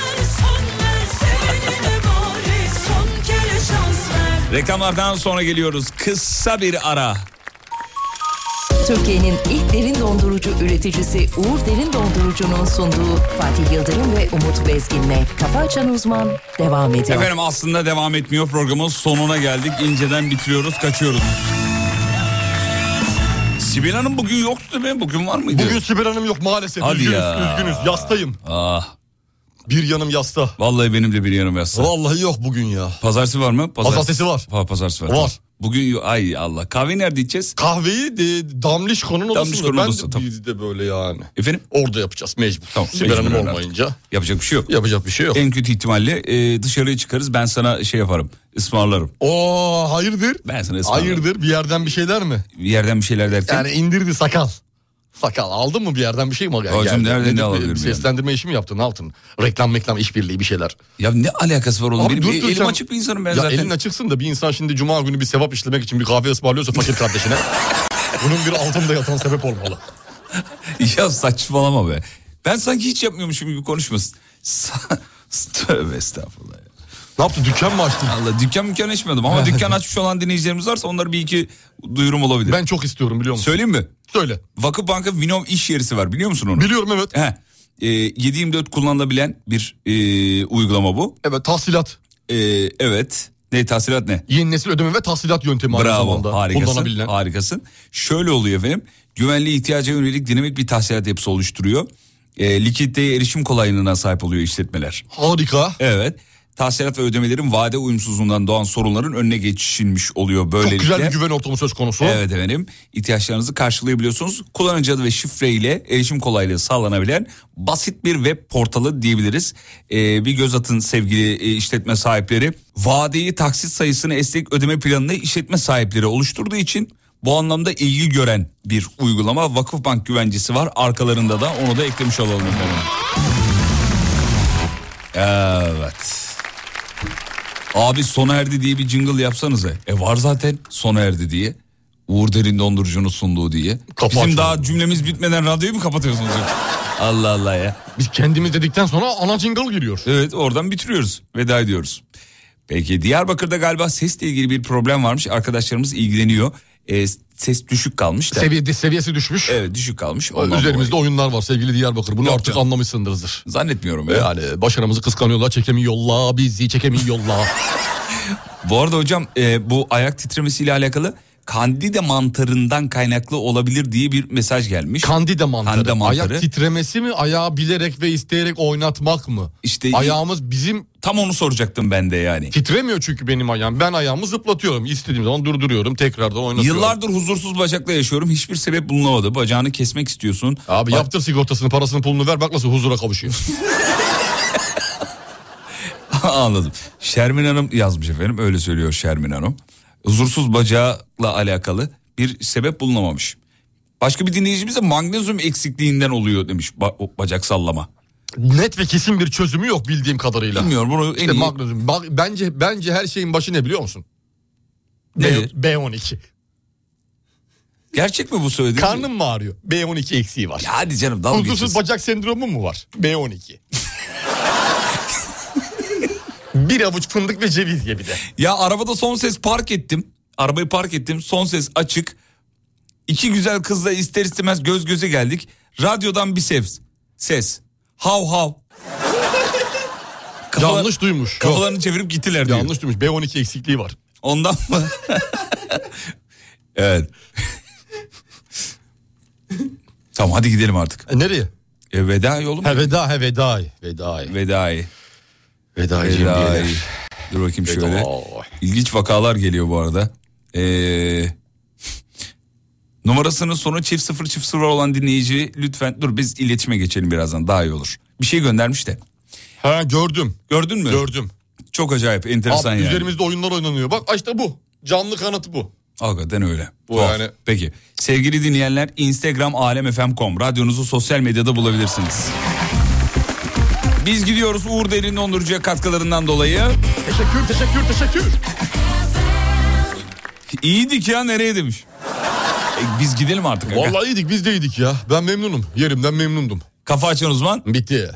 Speaker 13: Bari son kere şans ver
Speaker 2: Reklamlardan sonra geliyoruz. Kısa bir ara.
Speaker 6: Türkiye'nin ilk derin dondurucu üreticisi Uğur Derin Dondurucu'nun sunduğu Fatih Yıldırım ve Umut Bezgin'le Kafa Açan Uzman devam ediyor.
Speaker 2: Efendim aslında devam etmiyor programın sonuna geldik. İnceden bitiriyoruz, kaçıyoruz. Sibel Hanım bugün yoktu değil mi? Bugün var mıydı?
Speaker 3: Bugün Sibel Hanım yok maalesef.
Speaker 2: Hadi
Speaker 3: üzgünüz,
Speaker 2: ya.
Speaker 3: üzgünüz. Yastayım.
Speaker 2: Ah.
Speaker 3: Bir yanım yasta.
Speaker 2: Vallahi benim de bir yanım yasla.
Speaker 3: Vallahi yok bugün ya.
Speaker 2: Pazartesi var mı?
Speaker 3: Pazartesi var.
Speaker 2: Pa- pazartesi var.
Speaker 3: Var.
Speaker 2: Bugün yo- ay Allah. Kahve nerede içeceğiz?
Speaker 3: Kahveyi e, Damlişko'nun odasında.
Speaker 2: Damlişko'nun
Speaker 3: ben
Speaker 2: odası,
Speaker 3: de,
Speaker 2: tamam.
Speaker 3: bir de böyle yani.
Speaker 2: Efendim?
Speaker 3: Orada yapacağız mecbur.
Speaker 2: Tamam.
Speaker 3: Sibel
Speaker 2: mecbur
Speaker 3: Hanım
Speaker 2: öyle.
Speaker 3: olmayınca.
Speaker 2: Yapacak bir şey yok.
Speaker 3: Yapacak bir şey yok.
Speaker 2: En kötü ihtimalle e, dışarıya çıkarız. Ben sana şey yaparım. Ismarlarım.
Speaker 3: Oo hayırdır?
Speaker 2: Ben sana ısmarlarım.
Speaker 3: Hayırdır bir yerden bir şeyler mi?
Speaker 2: Bir yerden bir şeyler derken.
Speaker 3: Yani indirdi sakal. Sakal aldın mı bir yerden bir şey mi?
Speaker 2: Hocam
Speaker 3: geldi?
Speaker 2: nereden ne
Speaker 3: Nedir?
Speaker 2: alabilirim yani?
Speaker 3: Seslendirme işi mi yaptın ne yaptın? Reklam meklam işbirliği bir şeyler.
Speaker 2: Ya ne alakası var oğlum?
Speaker 3: Abi
Speaker 2: Benim
Speaker 3: dur,
Speaker 2: bir
Speaker 3: dur
Speaker 2: elim
Speaker 3: sen-
Speaker 2: açık bir insanım ben
Speaker 3: ya
Speaker 2: zaten.
Speaker 3: elin açıksın da bir insan şimdi cuma günü bir sevap işlemek için bir kahve ısmarlıyorsa fakir kardeşine. bunun bir altında yatan sebep olmalı.
Speaker 2: ya saçmalama be. Ben sanki hiç yapmıyormuşum gibi konuşmasın. Sa- Tövbe estağfurullah. ya.
Speaker 3: Ne yaptın dükkan mı açtın?
Speaker 2: Allah dükkan mükkan açmadım ama dükkan açmış olan dinleyicilerimiz varsa onlara bir iki duyurum olabilir.
Speaker 3: Ben çok istiyorum biliyor musun?
Speaker 2: Söyleyeyim mi?
Speaker 3: Söyle.
Speaker 2: Vakıf Banka Vinom iş yerisi var biliyor musun onu?
Speaker 3: Biliyorum evet.
Speaker 2: He. E, 7-24 kullanılabilen bir e, uygulama bu.
Speaker 3: Evet tahsilat.
Speaker 2: E, evet. Ne tahsilat ne?
Speaker 3: Yeni nesil ödeme ve tahsilat yöntemi aynı
Speaker 2: Bravo
Speaker 3: zamanda.
Speaker 2: harikasın,
Speaker 3: Kullanabilen.
Speaker 2: harikasın. Şöyle oluyor efendim. Güvenliğe ihtiyaca yönelik dinamik bir tahsilat yapısı oluşturuyor. E, likiditeye erişim kolaylığına sahip oluyor işletmeler.
Speaker 3: Harika.
Speaker 2: Evet. Tahsilat ve ödemelerin vade uyumsuzluğundan doğan sorunların önüne geçilmiş oluyor böylelikle.
Speaker 3: Çok güzel bir güven ortamı söz konusu.
Speaker 2: Evet efendim. İhtiyaçlarınızı karşılayabiliyorsunuz. Kullanıcı adı ve şifre ile erişim kolaylığı sağlanabilen basit bir web portalı diyebiliriz. Ee, bir göz atın sevgili e, işletme sahipleri. Vadeyi taksit sayısını esnek ödeme planını işletme sahipleri oluşturduğu için bu anlamda ilgi gören bir uygulama Vakıfbank güvencesi var. Arkalarında da onu da eklemiş olalım efendim. Evet. Abi sona erdi diye bir jingle yapsanıza. E var zaten sona erdi diye. Uğur Derin Dondurucu'nun sunduğu diye. Bizim daha cümlemiz bitmeden radyoyu mu kapatıyorsunuz? Allah Allah ya.
Speaker 3: Biz kendimiz dedikten sonra ana jingle giriyor.
Speaker 2: Evet oradan bitiriyoruz. Veda ediyoruz. Peki Diyarbakır'da galiba sesle ilgili bir problem varmış. Arkadaşlarımız ilgileniyor. E, ses düşük kalmış da.
Speaker 3: Seviye, seviyesi düşmüş.
Speaker 2: Evet düşük kalmış. Ondan
Speaker 3: Üzerimizde oyunlar var sevgili Diyarbakır. Bunu artık anlamışsınızdır.
Speaker 2: Zannetmiyorum ya.
Speaker 3: Yani başarımızı kıskanıyorlar. Çekemiyorlar bizi çekemiyorlar.
Speaker 2: Bu arada hocam e, bu ayak titremesiyle alakalı kandide mantarından kaynaklı olabilir diye bir mesaj gelmiş.
Speaker 3: Kandida mantarı.
Speaker 2: Kandida mantarı.
Speaker 3: Ayak titremesi mi? Ayağı bilerek ve isteyerek oynatmak mı?
Speaker 2: İşte
Speaker 3: Ayağımız bizim...
Speaker 2: Tam onu soracaktım ben de yani.
Speaker 3: Titremiyor çünkü benim ayağım. Ben ayağımı zıplatıyorum. İstediğim zaman durduruyorum. Tekrardan oynatıyorum.
Speaker 2: Yıllardır huzursuz bacakla yaşıyorum. Hiçbir sebep bulunamadı. Bacağını kesmek istiyorsun.
Speaker 3: Abi
Speaker 2: Bak-
Speaker 3: yaptır sigortasını parasını pulunu ver bak nasıl huzura kavuşuyor.
Speaker 2: Anladım. Şermin Hanım yazmış efendim. Öyle söylüyor Şermin Hanım. Huzursuz bacakla alakalı bir sebep bulunamamış. Başka bir dinleyicimiz de magnezyum eksikliğinden oluyor demiş ba- o bacak sallama.
Speaker 3: Net ve kesin bir çözümü yok bildiğim kadarıyla.
Speaker 2: Bilmiyorum, bunu en
Speaker 3: işte
Speaker 2: iyi-
Speaker 3: magnezyum. Bak- Bence, bence her şeyin başı ne biliyor musun? B- B12.
Speaker 2: Gerçek mi bu söylediğin?
Speaker 3: Karnım mı ağrıyor? B12 eksiği var.
Speaker 2: hadi canım dalga
Speaker 3: Huzursuz bacak sendromu mu var? B12. bir avuç fındık ve ceviz ye bir de.
Speaker 2: Ya arabada son ses park ettim. Arabayı park ettim. Son ses açık. İki güzel kızla ister istemez göz göze geldik. Radyodan bir ses. Ses. Hav hav.
Speaker 3: Yanlış duymuş.
Speaker 2: Kafalarını çevirip gittiler diyor.
Speaker 3: Yanlış duymuş. B12 eksikliği var.
Speaker 2: Ondan mı? evet. tamam hadi gidelim artık.
Speaker 3: nereye?
Speaker 2: E, veda yolu mu?
Speaker 3: He veda he vedai. Vedai.
Speaker 2: Vedai.
Speaker 3: Vedai.
Speaker 2: Vedai. Dur bakayım şöyle. İlginç vakalar geliyor bu arada. Ee, numarasının sonu çift sıfır çift sıfır olan dinleyici lütfen dur biz iletişime geçelim birazdan daha iyi olur. Bir şey göndermiş de.
Speaker 3: Ha gördüm.
Speaker 2: Gördün mü?
Speaker 3: Gördüm.
Speaker 2: Çok acayip enteresan
Speaker 3: Abi,
Speaker 2: yani.
Speaker 3: Üzerimizde oyunlar oynanıyor. Bak işte bu. Canlı kanıt bu.
Speaker 2: Hakikaten öyle.
Speaker 3: Bu
Speaker 2: Tuhaf.
Speaker 3: yani-
Speaker 2: Peki sevgili dinleyenler Instagram alemfm.com radyonuzu sosyal medyada bulabilirsiniz. Biz gidiyoruz Uğur Derin Dondurucu'ya katkılarından dolayı.
Speaker 3: Teşekkür teşekkür teşekkür.
Speaker 2: İyiydik ya nereye demiş. E, biz gidelim artık. aga.
Speaker 3: Vallahi iyiydik biz de iyiydik ya. Ben memnunum. Yerimden memnundum.
Speaker 2: Kafa açan uzman.
Speaker 3: Bitti.